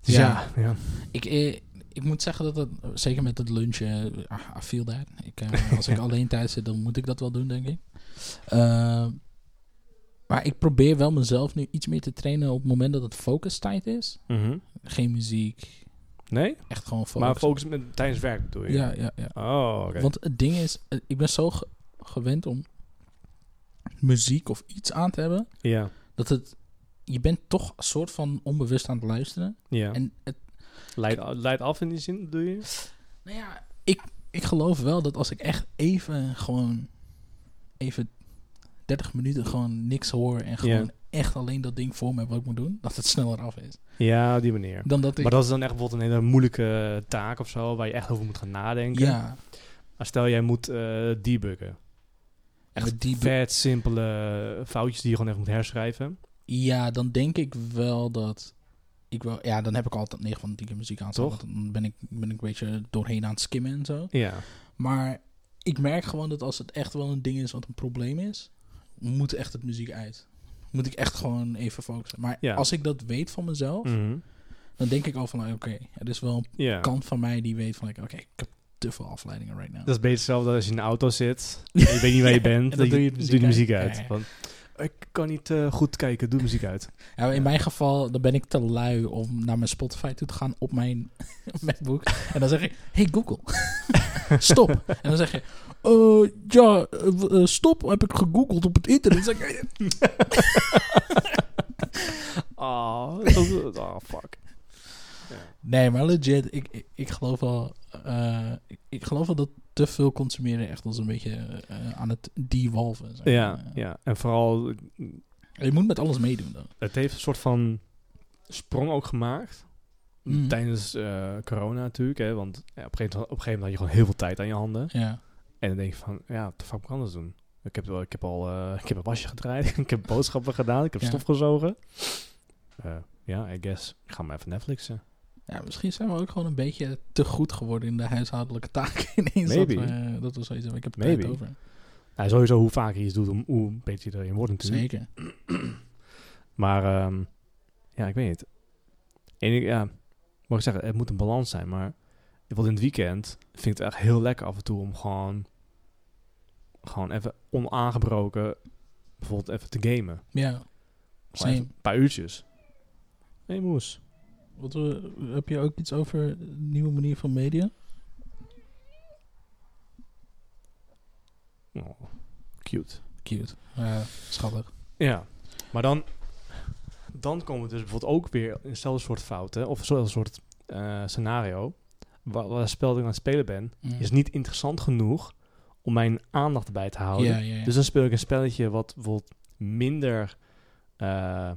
[SPEAKER 1] Dus ja, ja.
[SPEAKER 2] Ik, eh, ik moet zeggen dat dat, zeker met het lunchen, ah, I feel that. Ik, eh, als ik alleen thuis zit, dan moet ik dat wel doen, denk ik. Eh, Maar ik probeer wel mezelf nu iets meer te trainen op het moment dat het focus tijd is.
[SPEAKER 1] Mhm.
[SPEAKER 2] Geen muziek,
[SPEAKER 1] Nee?
[SPEAKER 2] echt gewoon focus.
[SPEAKER 1] Maar focus met, tijdens werk bedoel je?
[SPEAKER 2] Ja, ja, ja.
[SPEAKER 1] Oh, oké.
[SPEAKER 2] Want het ding is, eh, ik ben zo ge- gewend om muziek of iets aan te hebben,
[SPEAKER 1] Ja.
[SPEAKER 2] dat het, je bent toch een soort van onbewust aan het luisteren.
[SPEAKER 1] ja.
[SPEAKER 2] En het,
[SPEAKER 1] Leid, leid af in die zin, bedoel je?
[SPEAKER 2] nou ja, ik, ik geloof wel dat als ik echt even gewoon, even 30 minuten gewoon niks hoor en gewoon echt alleen dat ding voor me heb wat ik moet doen, dat het sneller af is.
[SPEAKER 1] Ja, op die manier.
[SPEAKER 2] Dan dat ik,
[SPEAKER 1] Maar dat is dan echt bijvoorbeeld een hele moeilijke taak of zo, waar je echt over moet gaan nadenken.
[SPEAKER 2] ja,
[SPEAKER 1] Maar Stel, jij moet eh, debuggen. Echt
[SPEAKER 2] met die be-
[SPEAKER 1] vet simpele foutjes die je gewoon even moet herschrijven.
[SPEAKER 2] Ja, dan denk ik wel dat. Ik wel, ja, dan heb ik altijd 9 van de 10 keer muziek aan.
[SPEAKER 1] Toch?
[SPEAKER 2] want Dan ben ik, ben ik een beetje doorheen aan het skimmen en zo.
[SPEAKER 1] Ja.
[SPEAKER 2] Maar ik merk gewoon dat als het echt wel een ding is wat een probleem is, moet echt het muziek uit. Moet ik echt gewoon even focussen. Maar
[SPEAKER 1] Ja.
[SPEAKER 2] als ik dat weet van mezelf,
[SPEAKER 1] Mhm.
[SPEAKER 2] dan denk ik al van oké, er is wel een
[SPEAKER 1] Ja.
[SPEAKER 2] kant van mij die weet van like, oké, ik heb te veel afleidingen right now.
[SPEAKER 1] Dat is beter hetzelfde als je in een auto zit. en Je weet niet waar je
[SPEAKER 2] Ja,
[SPEAKER 1] bent. dat
[SPEAKER 2] en dan doe je de
[SPEAKER 1] doe
[SPEAKER 2] muziek
[SPEAKER 1] de
[SPEAKER 2] uit.
[SPEAKER 1] muziek uit.
[SPEAKER 2] Ja, ja.
[SPEAKER 1] Van, ik kan niet eh, goed kijken, doe de muziek uit.
[SPEAKER 2] Ja, maar Nou, in mijn geval, dan ben ik te lui om naar mijn Spotify toe te gaan op mijn MacBook. En dan zeg ik, hey Google, stop. En dan zeg je, "Eh, ja, eh, w- eh, stop heb ik gegoogeld op het internet. Dan zeg ik, "Eh,
[SPEAKER 1] Oh, dat- oh, fuck.
[SPEAKER 2] nee, maar legit, ik, ik, ik geloof wel, eh, ik, ik geloof wel dat te veel consumeren echt als een beetje eh, aan het dewalven. zeg maar.
[SPEAKER 1] Ja,
[SPEAKER 2] Eh,
[SPEAKER 1] ja. En vooral,
[SPEAKER 2] Je moet met alles meedoen dan.
[SPEAKER 1] het heeft een soort van sprong ook gemaakt.
[SPEAKER 2] Mm.
[SPEAKER 1] Tijdens eh, corona natuurlijk, hè, want ja, op, een gegeven, op een gegeven moment had je gewoon heel veel tijd aan je handen.
[SPEAKER 2] Ja.
[SPEAKER 1] En dan denk je van, ja, wat de fuck moet ik anders doen? Ik heb, wel- ik heb al eh, ik heb een wasje gedraaid, ik heb boodschappen gedaan, ik heb
[SPEAKER 2] Ja.
[SPEAKER 1] stof gezogen. Eh, ja, I guess. Ik ga maar even Netflixen.
[SPEAKER 2] Ja, misschien zijn we ook gewoon een beetje te goed geworden in de huishoudelijke taken ineens.
[SPEAKER 1] Maybe.
[SPEAKER 2] Dat, we, dat we zoiets hebben. Ik heb het
[SPEAKER 1] Maybe.
[SPEAKER 2] tijd over.
[SPEAKER 1] Nou, sowieso hoe vaker je iets doet, om- hoe beter je erin wordt natuurlijk.
[SPEAKER 2] Zeker.
[SPEAKER 1] Maar ehm, ja, ik weet niet. En ik, ja, mag ik zeggen, het moet een balans zijn. Maar bijvoorbeeld in het weekend vind ik het echt heel lekker af en toe om gewoon, gewoon even onaangebroken bijvoorbeeld even te gamen.
[SPEAKER 2] Ja.
[SPEAKER 1] Gewoon even
[SPEAKER 2] Same.
[SPEAKER 1] een paar uurtjes. Nee, moes.
[SPEAKER 2] Wat we, heb je ook iets over een nieuwe manier van media?
[SPEAKER 1] Oh, cute.
[SPEAKER 2] Cute. Ja, schattig.
[SPEAKER 1] Ja, maar dan, dan komen we dus bijvoorbeeld ook weer in hetzelfde soort fouten of hetzelfde soort eh, scenario. Waar, waar spel ik aan het spelen ben,
[SPEAKER 2] Mm.
[SPEAKER 1] is niet interessant genoeg om mijn aandacht bij te houden.
[SPEAKER 2] Ja, ja, ja.
[SPEAKER 1] Dus dan speel ik een spelletje wat bijvoorbeeld minder eh,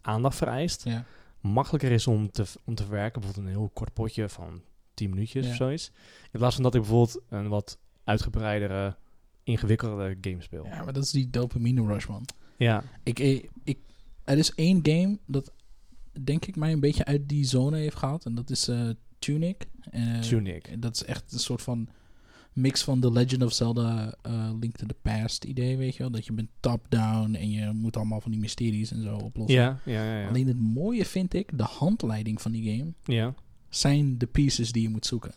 [SPEAKER 1] aandacht vereist.
[SPEAKER 2] ja.
[SPEAKER 1] Makkelijker is om te, om te verwerken. Bijvoorbeeld een heel kort potje van 10 minuutjes
[SPEAKER 2] Ja.
[SPEAKER 1] of zoiets. In plaats van dat ik bijvoorbeeld een wat uitgebreidere, ingewikkeldere game speel. Ja.
[SPEAKER 2] ja, maar dat is die dopamine rush, man. Ik, ik, ik, er is één game dat, denk ik, mij een beetje uit die zone heeft gehaald. En dat is eh, Tunic. Eh,
[SPEAKER 1] Tunic.
[SPEAKER 2] Dat is echt een soort van mix van The Legend of Zelda eh, Link to the Past idee, weet je wel. Dat je bent top-down en je moet allemaal van die mysteries en zo oplossen.
[SPEAKER 1] Ja, ja, ja. ja.
[SPEAKER 2] Alleen het mooie vind ik, de handleiding van die game
[SPEAKER 1] Ja.
[SPEAKER 2] zijn de pieces die je moet zoeken.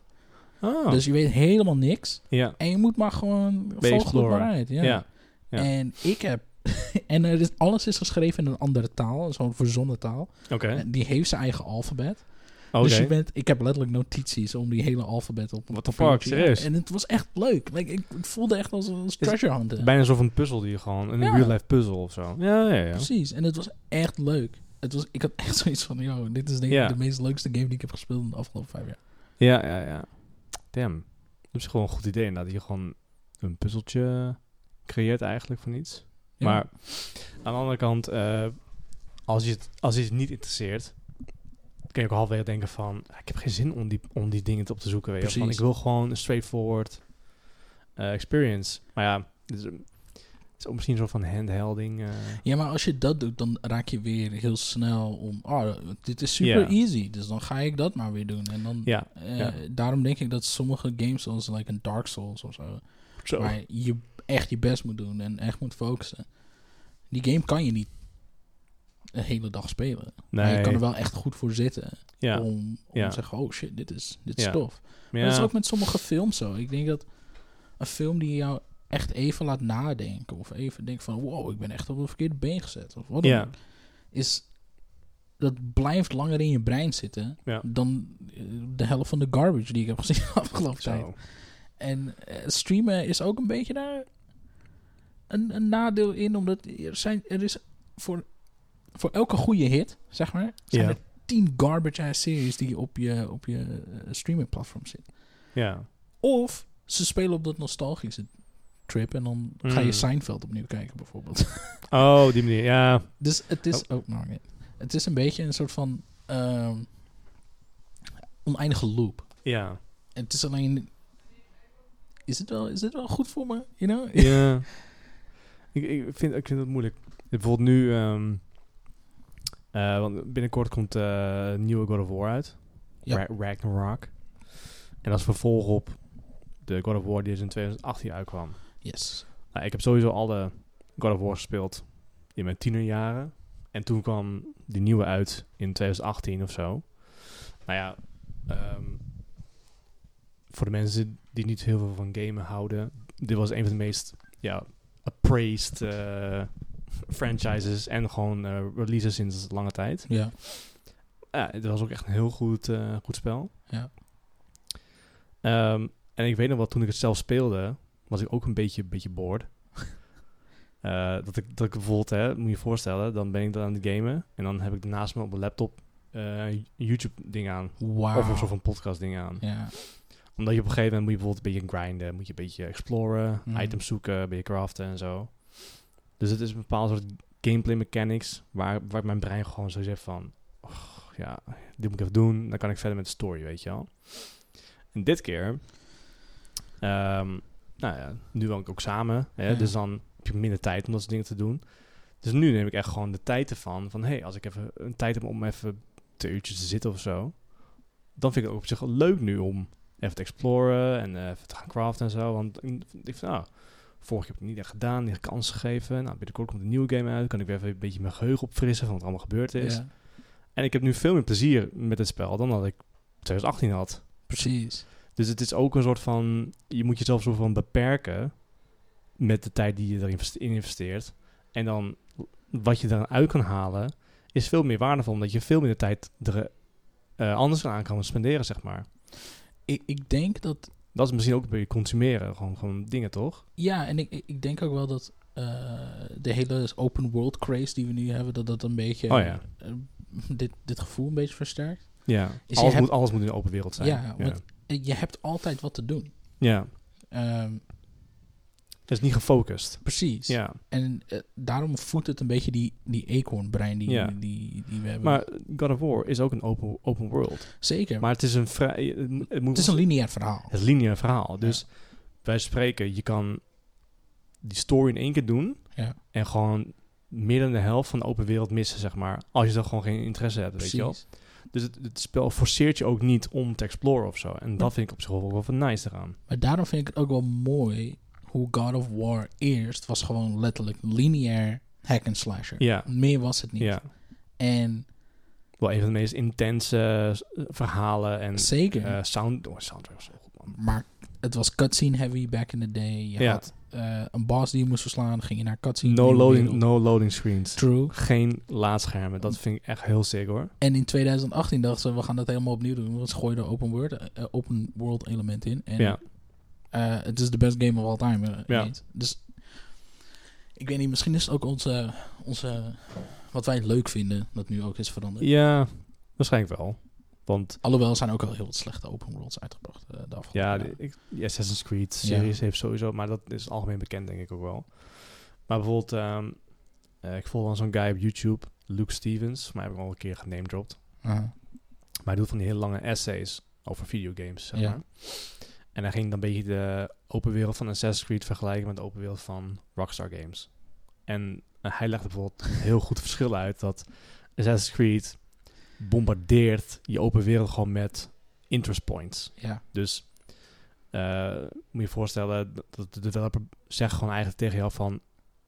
[SPEAKER 1] Oh.
[SPEAKER 2] Dus je weet helemaal niks
[SPEAKER 1] ja.
[SPEAKER 2] en je moet maar gewoon vogelen
[SPEAKER 1] exploren.
[SPEAKER 2] maar uit. Ja.
[SPEAKER 1] Ja. ja. Ja.
[SPEAKER 2] En ik heb... en er is, alles is geschreven in een andere taal, zo'n verzonnen taal.
[SPEAKER 1] Oké.
[SPEAKER 2] En die heeft zijn eigen alfabet.
[SPEAKER 1] Oké.
[SPEAKER 2] Dus je bent, ik heb letterlijk notities om die hele alfabet op.
[SPEAKER 1] What the
[SPEAKER 2] op papiertje.
[SPEAKER 1] fuck, serieus?
[SPEAKER 2] En het was echt leuk. Like, ik, ik voelde echt als een treasure hunter.
[SPEAKER 1] Bijna alsof een puzzel die je gewoon... Een
[SPEAKER 2] Ja.
[SPEAKER 1] real-life puzzel of zo. Ja, ja, ja.
[SPEAKER 2] Precies. En het was echt leuk. Het was, ik had echt zoiets van, yo, dit is denk ik
[SPEAKER 1] Ja.
[SPEAKER 2] de meest leukste game die ik heb gespeeld in de afgelopen vijf jaar.
[SPEAKER 1] Ja, ja, ja. Damn. Dat is gewoon een goed idee inderdaad. Dat je gewoon een puzzeltje creëert eigenlijk van iets.
[SPEAKER 2] Ja.
[SPEAKER 1] Maar aan de andere kant... eh, als, je het, als je het niet interesseert... kun je ook halverwege denken van... "Ah, Ik heb geen zin om die, om die dingen op te zoeken. Weet je. wel. Van,
[SPEAKER 2] Precies.
[SPEAKER 1] ik wil gewoon een straightforward eh, experience. Maar ja... Het is, het is ook misschien een soort van handhelding. eh.
[SPEAKER 2] Ja, maar als je dat doet, dan raak je weer heel snel om, oh, dit is super
[SPEAKER 1] Ja.
[SPEAKER 2] easy. Dus dan ga ik dat maar weer doen. En dan,
[SPEAKER 1] Ja,
[SPEAKER 2] eh,
[SPEAKER 1] ja.
[SPEAKER 2] daarom denk ik dat sommige games zoals like een Dark Souls of zo,
[SPEAKER 1] zo.
[SPEAKER 2] waar je echt je best moet doen en echt moet focussen. Die game kan je niet een hele dag spelen. Maar
[SPEAKER 1] Nee.
[SPEAKER 2] je kan er wel echt goed voor zitten.
[SPEAKER 1] ja.
[SPEAKER 2] Om, om
[SPEAKER 1] Ja.
[SPEAKER 2] te zeggen, oh shit, dit is, dit is
[SPEAKER 1] Ja.
[SPEAKER 2] tof. Maar
[SPEAKER 1] Ja.
[SPEAKER 2] dat is ook met sommige films zo. Ik denk dat een film die jou echt even laat nadenken. Of even denkt van, wow, ik ben echt op een verkeerde been gezet. Of wat dan
[SPEAKER 1] Ja.
[SPEAKER 2] ook. Is, dat blijft langer in je brein zitten
[SPEAKER 1] Ja.
[SPEAKER 2] dan eh, de helft van de garbage die ik heb gezien de afgelopen tijd.
[SPEAKER 1] Zo.
[SPEAKER 2] En eh, streamen is ook een beetje daar een, een nadeel in, omdat er, zijn, er is voor, voor elke goede hit, zeg maar, zijn
[SPEAKER 1] Ja.
[SPEAKER 2] er tien garbage-ass series die op je, op je eh, streaming-platform zitten.
[SPEAKER 1] Ja.
[SPEAKER 2] Of ze spelen op dat nostalgische trip en dan ga je
[SPEAKER 1] Mm.
[SPEAKER 2] Seinfeld opnieuw kijken, bijvoorbeeld.
[SPEAKER 1] Oh, die manier. Ja.
[SPEAKER 2] dus het is
[SPEAKER 1] Oh.
[SPEAKER 2] ook nog niet. Het is een beetje een soort van ehm, oneindige loop.
[SPEAKER 1] Ja.
[SPEAKER 2] En het is alleen. Is het wel, is het wel goed voor me? You know?
[SPEAKER 1] ja. Ik, ik, vind, ik vind dat moeilijk. Bijvoorbeeld nu... ehm, eh, want binnenkort komt eh, een nieuwe God of War uit.
[SPEAKER 2] Ja.
[SPEAKER 1] Ra- Ragnarok. En als vervolg op de God of War die dus in 2018 uitkwam.
[SPEAKER 2] Yes.
[SPEAKER 1] Nou, ik heb sowieso alle God of War gespeeld in mijn tienerjaren. En toen kwam die nieuwe uit in 2018 of zo. Nou ja, ehm, voor de mensen die niet heel veel van gamen houden, dit was een van de meest ja, appraised eh, franchises en gewoon eh, releases sinds lange tijd.
[SPEAKER 2] Ja.
[SPEAKER 1] Ja, het was ook echt een heel goed, eh, goed spel.
[SPEAKER 2] Ja.
[SPEAKER 1] Ehm, en ik weet nog wel, toen ik het zelf speelde, was ik ook een beetje, beetje bored. Eh, dat, ik, dat ik bijvoorbeeld, hè, moet je je voorstellen, dan ben ik dan aan het gamen. En dan heb ik naast me op mijn laptop eh, een YouTube-ding aan.
[SPEAKER 2] Wauw.
[SPEAKER 1] Of een soort van podcast-ding aan.
[SPEAKER 2] Ja.
[SPEAKER 1] Omdat je op een gegeven moment moet je bijvoorbeeld een beetje grinden. Moet je een beetje exploren,
[SPEAKER 2] Mhm.
[SPEAKER 1] items zoeken, een beetje craften en zo. Dus het is een bepaald soort gameplay mechanics waar, waar mijn brein gewoon zo zegt van... "Och, ja, dit moet ik even doen. Dan kan ik verder met de story, weet je wel. En dit keer... ehm, nou ja, nu woon ik ook samen. Hè,
[SPEAKER 2] Ja.
[SPEAKER 1] Dus dan heb je minder tijd om dat soort dingen te doen. Dus nu neem ik echt gewoon de tijd ervan. Van, hé, hey, als ik even een tijd heb om even twee uurtjes te zitten of zo... Dan vind ik het ook op zich wel leuk nu om even te exploren en eh, even te gaan craften en zo. Want ik ik vind, nou, Vorig jaar heb ik het niet echt gedaan, niet echt kans gegeven. Nou, binnenkort komt een nieuwe game uit. Kan ik weer even een beetje mijn geheugen opfrissen van wat er allemaal gebeurd is.
[SPEAKER 2] ja.
[SPEAKER 1] En ik heb nu veel meer plezier met het spel dan dat ik 2018 had.
[SPEAKER 2] Precies.
[SPEAKER 1] Dus het is ook een soort van... Je moet jezelf zo van beperken met de tijd die je erin investe- in investeert. En dan wat je eraan uit kan halen is veel meer waardevol. Omdat je veel meer de tijd er eh, anders aan kan spenderen, zeg maar.
[SPEAKER 2] Ik, ik denk dat.
[SPEAKER 1] Dat is misschien ook een beetje consumeren. Gewoon, gewoon dingen, toch?
[SPEAKER 2] Ja, en ik, ik ik denk ook wel dat. eh, de hele open world craze die we nu hebben, dat dat een beetje.
[SPEAKER 1] Oh ja.
[SPEAKER 2] eh, dit, dit gevoel een beetje versterkt.
[SPEAKER 1] Ja.
[SPEAKER 2] Dus je
[SPEAKER 1] Alles,
[SPEAKER 2] hebt-
[SPEAKER 1] moet, alles moet in de open wereld zijn.
[SPEAKER 2] Ja,
[SPEAKER 1] ja.
[SPEAKER 2] want- Eh, Je hebt altijd wat te doen.
[SPEAKER 1] ja.
[SPEAKER 2] Ehm,
[SPEAKER 1] Het is niet gefocust.
[SPEAKER 2] precies.
[SPEAKER 1] Ja,
[SPEAKER 2] En eh, daarom voedt het een beetje die, die eekhoornbrein die,
[SPEAKER 1] Ja.
[SPEAKER 2] die, die we hebben.
[SPEAKER 1] maar God of War is ook een open, open world.
[SPEAKER 2] Zeker.
[SPEAKER 1] Maar het is een vrij... Het, moet- het moet-
[SPEAKER 2] het is een lineair verhaal.
[SPEAKER 1] het is een lineair verhaal. Dus wij spreken, je kan die story in één keer doen...
[SPEAKER 2] Ja.
[SPEAKER 1] en gewoon meer dan de helft van de open wereld missen, zeg maar. Als je dan gewoon geen interesse hebt, weet je wel.
[SPEAKER 2] Precies.
[SPEAKER 1] Dus het, het spel forceert je ook niet om te exploren of zo. En dat vind ik op zich wel wel nice eraan.
[SPEAKER 2] Maar daarom vind ik het ook wel mooi hoe God of War eerst was gewoon letterlijk lineair hack and slasher.
[SPEAKER 1] Ja,
[SPEAKER 2] Meer was het niet.
[SPEAKER 1] ja.
[SPEAKER 2] En
[SPEAKER 1] Wel een van de meest intense eh, verhalen en
[SPEAKER 2] zeker,
[SPEAKER 1] eh sound... Oh, soundtrack was zo goed, man.
[SPEAKER 2] maar het was cutscene heavy back in the day. Je
[SPEAKER 1] Ja.
[SPEAKER 2] had eh, een boss die je moest verslaan, ging je naar cutscene.
[SPEAKER 1] No
[SPEAKER 2] nieuwe
[SPEAKER 1] loading,
[SPEAKER 2] wereld. Oh.
[SPEAKER 1] no loading screens.
[SPEAKER 2] True.
[SPEAKER 1] geen laadschermen. Dat vind ik echt heel sick hoor.
[SPEAKER 2] En in 2018 dachten ze, we gaan dat helemaal opnieuw doen. Want ze gooiden open world, eh, open world element in. En
[SPEAKER 1] ja.
[SPEAKER 2] Eh, het is de best game of all time. eh,
[SPEAKER 1] Ja.
[SPEAKER 2] niet. Dus ik weet niet, misschien is het ook onze, onze wat wij leuk vinden, dat nu ook is veranderd.
[SPEAKER 1] ja, waarschijnlijk wel. Want
[SPEAKER 2] Alhoewel er zijn ook al heel wat slechte open worlds uitgebracht eh de afgelopen
[SPEAKER 1] ja,
[SPEAKER 2] jaren.
[SPEAKER 1] de- ik, die Assassin's Creed series heeft sowieso, maar dat is algemeen bekend denk ik ook wel. Maar bijvoorbeeld, ehm, eh, ik volg dan zo'n guy op YouTube, Luke Stevens, maar heb ik al een keer genamedropt.
[SPEAKER 2] Aha.
[SPEAKER 1] Maar hij doet van die hele lange essays over videogames, zeg
[SPEAKER 2] Ja.
[SPEAKER 1] maar. En hij ging dan een beetje de open wereld van Assassin's Creed vergelijken met de open wereld van Rockstar Games. En eh, hij legde bijvoorbeeld een heel goed verschil uit dat Assassin's Creed bombardeert je open wereld gewoon met interest points.
[SPEAKER 2] ja.
[SPEAKER 1] Dus eh, moet je je voorstellen dat- dat de developer zegt gewoon eigenlijk tegen jou van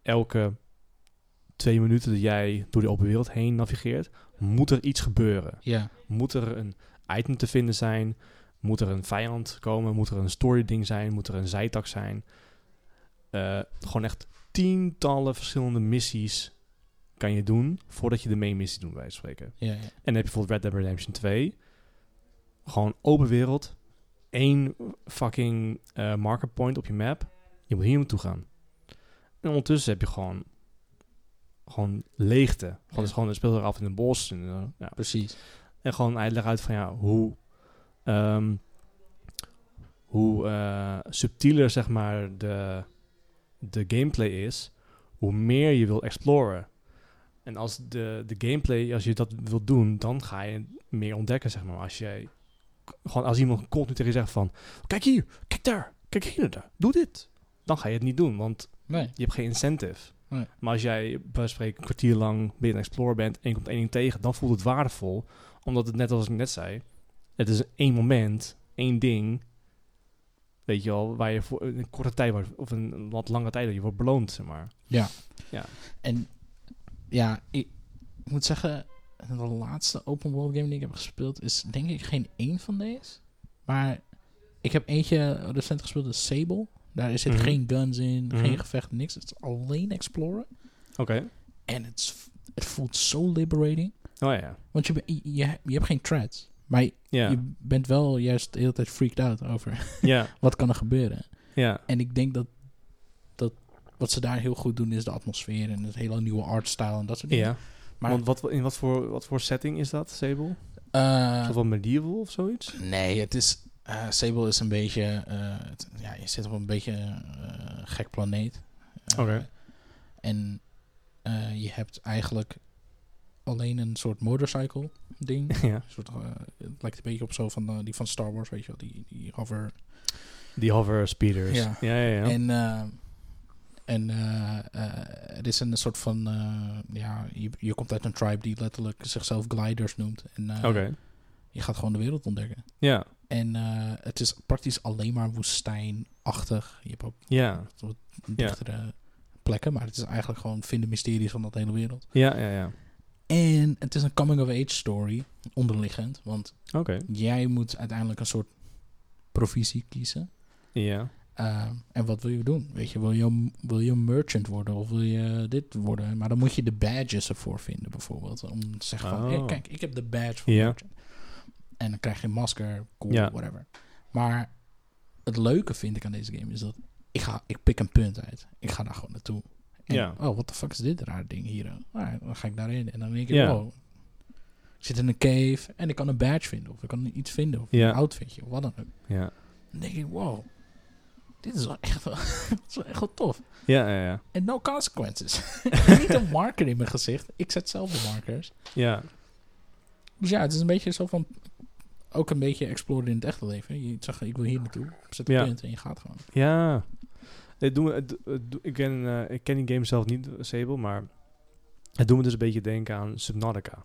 [SPEAKER 1] elke twee minuten dat jij door die open wereld heen navigeert, moet er iets gebeuren.
[SPEAKER 2] Ja.
[SPEAKER 1] Moet er een item te vinden zijn? Moet er een vijand komen? Moet er een story ding zijn? Moet er een zijtak zijn? Eh, eh, gewoon echt tientallen verschillende missies kan je doen voordat je de main missie doet, bij wijze van spreken.
[SPEAKER 2] Ja, ja.
[SPEAKER 1] En dan heb je bijvoorbeeld Red Dead Redemption 2. Gewoon open wereld. één fucking eh marker point op je map. Je moet hier naartoe gaan. En ondertussen heb je gewoon... Gewoon leegte. Gewoon,
[SPEAKER 2] Ja.
[SPEAKER 1] dus gewoon, het speelt er af in een bos. En, eh, ja.
[SPEAKER 2] precies.
[SPEAKER 1] en gewoon, hij legt uit van, ja, hoe... ehm, hoe eh, subtieler, zeg maar, de, de gameplay is... Hoe meer je wil exploren. En als de, de gameplay, als je dat wilt doen, dan ga je meer ontdekken, zeg maar. Als jij, gewoon als iemand continu tegen je zegt van, kijk hier, kijk daar, kijk hier, daar, doe dit. Dan ga je het niet doen, want
[SPEAKER 2] Nee.
[SPEAKER 1] je hebt geen incentive.
[SPEAKER 2] Nee.
[SPEAKER 1] Maar als jij, bij wijze van spreken, een kwartier lang ben je een explorer bent en je komt één ding tegen, dan voelt het waardevol. Omdat het, net als ik net zei, het is één moment, één ding, weet je wel, waar je voor een korte tijd, wordt- of een, een wat lange tijd, dat je wordt beloond, zeg maar.
[SPEAKER 2] En ja, ik moet zeggen, de laatste open world game die ik heb gespeeld is denk ik geen één van deze. Maar ik heb eentje recent gespeeld, dat is Sable. Daar zit
[SPEAKER 1] Mhm.
[SPEAKER 2] geen guns in,
[SPEAKER 1] Mhm.
[SPEAKER 2] geen gevecht, niks. Het is alleen exploren.
[SPEAKER 1] Oké.
[SPEAKER 2] En het, is- het voelt zo liberating.
[SPEAKER 1] Oh ja.
[SPEAKER 2] Want je, be- je, je, je hebt geen threats. Maar je,
[SPEAKER 1] Ja.
[SPEAKER 2] je bent wel juist de hele tijd freaked out over
[SPEAKER 1] Ja.
[SPEAKER 2] wat kan er gebeuren.
[SPEAKER 1] Ja.
[SPEAKER 2] En ik denk dat, dat wat ze daar heel goed doen is de atmosfeer en het hele nieuwe artstyle en dat soort dingen.
[SPEAKER 1] Ja,
[SPEAKER 2] Maar-
[SPEAKER 1] want wat, in wat voor, wat voor setting is dat, Sable?
[SPEAKER 2] Eh,
[SPEAKER 1] Of wat medieval of zoiets?
[SPEAKER 2] nee, het is. eh, Sable is een beetje. eh, het- ja, je zit op een beetje eh, gek planeet. Eh,
[SPEAKER 1] Oké.
[SPEAKER 2] En eh, je hebt eigenlijk alleen een soort motorcycle ding.
[SPEAKER 1] ja.
[SPEAKER 2] Een soort, eh, het lijkt een beetje op zo van eh, die van Star Wars, weet je wel, die, die hover.
[SPEAKER 1] Die hover speeders.
[SPEAKER 2] Ja.
[SPEAKER 1] ja, ja. ja.
[SPEAKER 2] En, eh, en eh, eh, het is een soort van, eh, ja, je, je komt uit een tribe die letterlijk zichzelf gliders noemt. En eh,
[SPEAKER 1] Oké.
[SPEAKER 2] je gaat gewoon de wereld ontdekken.
[SPEAKER 1] Ja.
[SPEAKER 2] En eh, het is praktisch alleen maar woestijnachtig. Je hebt ook
[SPEAKER 1] Ja.
[SPEAKER 2] dichtere plekken, maar het is eigenlijk gewoon vinden mysteries van dat hele wereld.
[SPEAKER 1] Ja, ja, ja.
[SPEAKER 2] En het is een coming-of-age story, onderliggend. Want
[SPEAKER 1] Oké.
[SPEAKER 2] jij moet uiteindelijk een soort provisie kiezen.
[SPEAKER 1] Ja.
[SPEAKER 2] Eh, en wat wil je doen? Weet je, wil je, een- wil je een merchant worden of wil je dit worden? Maar dan moet je de badges ervoor vinden, bijvoorbeeld. Om te zeggen van,
[SPEAKER 1] Oh.
[SPEAKER 2] hey, kijk, ik heb de badge voor
[SPEAKER 1] Ja.
[SPEAKER 2] merchant. En dan krijg je een masker, cool,
[SPEAKER 1] Ja.
[SPEAKER 2] whatever. Maar het leuke vind ik aan deze game is dat ik, ga, ik pik een punt uit. Ik ga daar gewoon naartoe. En,
[SPEAKER 1] Ja.
[SPEAKER 2] Oh, what the fuck is dit raar ding hier? Nou, dan ga ik daarin. En dan denk ik,
[SPEAKER 1] Ja.
[SPEAKER 2] oh, ik zit in een cave en ik kan een badge vinden. Of ik kan iets vinden. Of
[SPEAKER 1] Ja.
[SPEAKER 2] een outfitje, of wat dan ook.
[SPEAKER 1] Ja.
[SPEAKER 2] Dan denk ik, wow, dit is wel echt wel, dit is wel echt wel tof.
[SPEAKER 1] Ja, ja, ja.
[SPEAKER 2] En no consequences. Niet een marker in mijn gezicht. Ik zet zelf de markers.
[SPEAKER 1] Ja.
[SPEAKER 2] Dus ja, het is een beetje zo van, ook een beetje exploren in het echte leven. Je zegt, ik wil hier naartoe. Zet een
[SPEAKER 1] Ja.
[SPEAKER 2] punt en je gaat gewoon.
[SPEAKER 1] Ja. Eh, Het doet me- het- het doet- ik, ken, eh, ik ken die game zelf niet, Sable, maar het doet me dus een beetje denken aan Subnautica.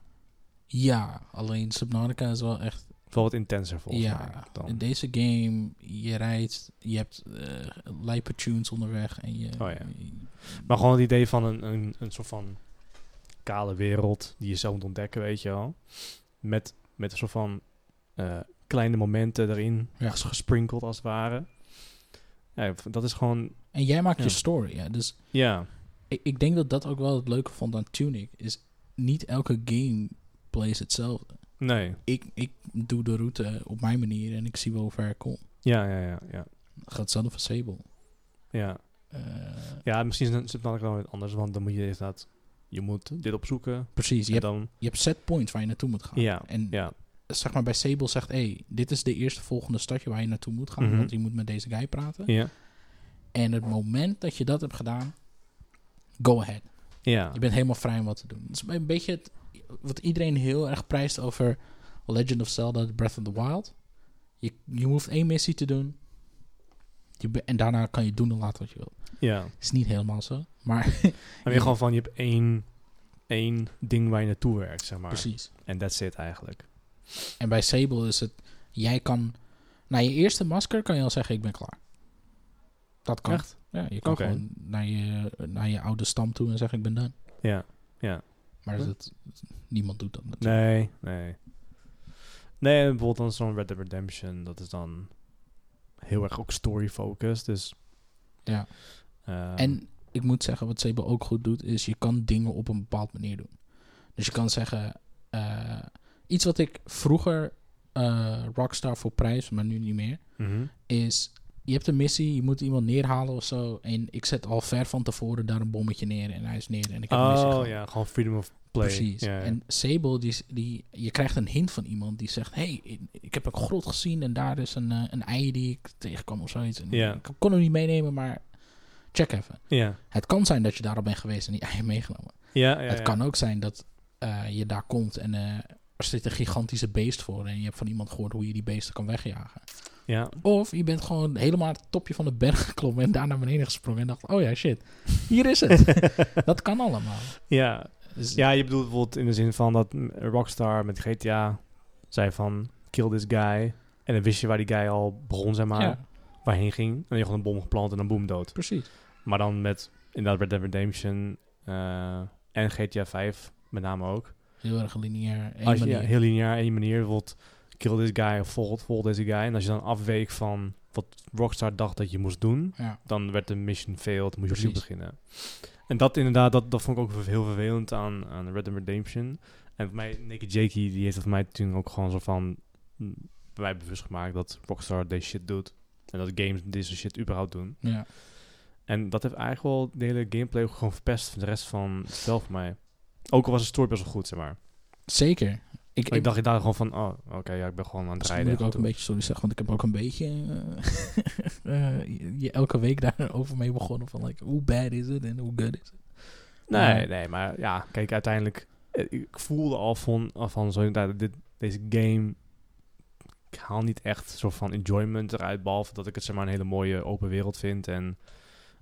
[SPEAKER 2] Ja, alleen Subnautica is wel echt,
[SPEAKER 1] Wel wat intenser volgens mij.
[SPEAKER 2] ja.
[SPEAKER 1] Dan.
[SPEAKER 2] In deze game, je rijdt, je hebt eh lijpe tunes onderweg en je...
[SPEAKER 1] Oh ja. Maar gewoon het idee van een, een, een soort van kale wereld die je zelf moet ontdekken, weet je wel. Met, met een soort van eh, kleine momenten erin,
[SPEAKER 2] Ja.
[SPEAKER 1] gesprinkeld als het ware. Ja, ik vind- dat is gewoon,
[SPEAKER 2] En jij maakt
[SPEAKER 1] Ja.
[SPEAKER 2] je story, ja. Dus
[SPEAKER 1] ja,
[SPEAKER 2] ik, ik denk dat dat ook wel het leuke vond aan Tunic. Is niet elke game plays hetzelfde.
[SPEAKER 1] nee.
[SPEAKER 2] Ik, ik doe de route op mijn manier en ik zie wel hoe ver ik kom.
[SPEAKER 1] Ja, ja, ja, ja.
[SPEAKER 2] Dat Gaat hetzelfde voor Sable.
[SPEAKER 1] Ja,
[SPEAKER 2] Eh,
[SPEAKER 1] ja misschien is het dan wel wat anders, want dan moet je inderdaad, je moet dit opzoeken.
[SPEAKER 2] precies, je
[SPEAKER 1] en
[SPEAKER 2] hebt,
[SPEAKER 1] dan,
[SPEAKER 2] je hebt setpoints waar je naartoe moet gaan.
[SPEAKER 1] ja,
[SPEAKER 2] En
[SPEAKER 1] ja,
[SPEAKER 2] zeg maar bij Sable zegt, hey, dit is de eerste volgende stadje waar je naartoe moet gaan.
[SPEAKER 1] Mhm.
[SPEAKER 2] Want je moet met deze guy praten.
[SPEAKER 1] ja,
[SPEAKER 2] En het moment dat je dat hebt gedaan, go ahead.
[SPEAKER 1] ja,
[SPEAKER 2] Je bent helemaal vrij om wat te doen. Het is een beetje het, wat iedereen heel erg prijst over Legend of Zelda Breath of the Wild. Je, je hoeft één missie te doen. Je be- en daarna kan je doen en laten wat je wil.
[SPEAKER 1] ja.
[SPEAKER 2] Is niet helemaal zo, maar
[SPEAKER 1] En weer gewoon van, je hebt één, één ding waar je naartoe werkt, zeg maar.
[SPEAKER 2] precies.
[SPEAKER 1] En that's it eigenlijk.
[SPEAKER 2] En bij Sable is het, jij kan, na je eerste masker kan je al zeggen ik ben klaar. Dat kan.
[SPEAKER 1] Echt?
[SPEAKER 2] Ja, je kan
[SPEAKER 1] Oké.
[SPEAKER 2] gewoon naar je, naar je oude stam toe en zeggen ik ben done.
[SPEAKER 1] Ja.
[SPEAKER 2] Maar
[SPEAKER 1] Ja.
[SPEAKER 2] dat, niemand doet dat natuurlijk.
[SPEAKER 1] Nee, nee. Nee, en bijvoorbeeld dan zo'n Red Dead Redemption, dat is dan heel erg ook story-focused. Dus
[SPEAKER 2] Ja.
[SPEAKER 1] Ehm,
[SPEAKER 2] En ik moet zeggen, wat Sebo ook goed doet, is je kan dingen op een bepaalde manier doen. Dus je kan zeggen, eh, iets wat ik vroeger eh, Rockstar voor prijs, maar nu niet meer,
[SPEAKER 1] mhm.
[SPEAKER 2] is je hebt een missie, je moet iemand neerhalen of zo. En ik zet al ver van tevoren daar een bommetje neer en hij is neer en ik heb een missie
[SPEAKER 1] Oh
[SPEAKER 2] gehad.
[SPEAKER 1] ja, gewoon freedom of play.
[SPEAKER 2] Precies.
[SPEAKER 1] Ja, ja.
[SPEAKER 2] En Sable, die, is- die, je krijgt een hint van iemand die zegt... hey, ik- ik heb een grot gezien en daar is een, eh, een ei die ik tegenkwam of zoiets. En
[SPEAKER 1] Ja.
[SPEAKER 2] Ik kon hem niet meenemen, maar check even.
[SPEAKER 1] ja.
[SPEAKER 2] Het kan zijn dat je daar al bent geweest en die ei hebt meegenomen.
[SPEAKER 1] Ja, ja,
[SPEAKER 2] het
[SPEAKER 1] ja.
[SPEAKER 2] kan ook zijn dat eh, je daar komt en eh, er zit een gigantische beest voor... en je hebt van iemand gehoord hoe je die beesten kan wegjagen.
[SPEAKER 1] Ja,
[SPEAKER 2] Of je bent gewoon helemaal aan het topje van de berg geklommen... en daar naar beneden gesprongen en dacht... oh ja, shit, hier is het. dat kan allemaal.
[SPEAKER 1] ja.
[SPEAKER 2] Dus,
[SPEAKER 1] Ja, je bedoelt bijvoorbeeld in de zin van dat mm, Rockstar met GTA zei van kill this guy. En dan wist je waar die guy al begon, zeg maar,
[SPEAKER 2] ja,
[SPEAKER 1] waarheen ging. En dan je gewoon een bom geplant en dan boom dood.
[SPEAKER 2] precies.
[SPEAKER 1] Maar dan met inderdaad Red Dead Redemption eh, en GTA 5 met name ook.
[SPEAKER 2] Heel erg lineair. één
[SPEAKER 1] Als je ja,
[SPEAKER 2] manier.
[SPEAKER 1] heel lineair één manier bijvoorbeeld kill this guy of volg volg deze guy. En als je dan afweek van wat Rockstar dacht dat je moest doen,
[SPEAKER 2] Ja.
[SPEAKER 1] dan werd de mission failed, moest je
[SPEAKER 2] Precies.
[SPEAKER 1] opnieuw beginnen. En dat inderdaad, dat, dat vond ik ook ver- heel vervelend aan, aan Red Dead Redemption. En voor mij, Nicky Jakey, die heeft dat voor mij toen ook gewoon zo van... mm, bij mij bewust gemaakt dat Rockstar deze shit doet. En dat games deze shit überhaupt doen.
[SPEAKER 2] Ja.
[SPEAKER 1] En dat heeft eigenlijk wel de hele gameplay ook gewoon verpest van de rest van het spel voor mij. Ook al was de story best wel goed, zeg maar.
[SPEAKER 2] Zeker. Ik,
[SPEAKER 1] Maar ik dacht daar gewoon van, oh, oké, ja, ik ben gewoon aan het
[SPEAKER 2] misschien
[SPEAKER 1] rijden.
[SPEAKER 2] moet ik ook
[SPEAKER 1] Goed.
[SPEAKER 2] een beetje sorry zeggen, want ik heb ook een beetje eh, eh, je- je elke week daarover mee begonnen van like, hoe bad is het en hoe good is het.
[SPEAKER 1] Nee, nee, maar ja, kijk, uiteindelijk... eh, Ik voelde al van, al van zo inderdaad, dit, deze game... Ik haal niet echt soort van enjoyment eruit, behalve dat ik het zeg maar een hele mooie open wereld vind. En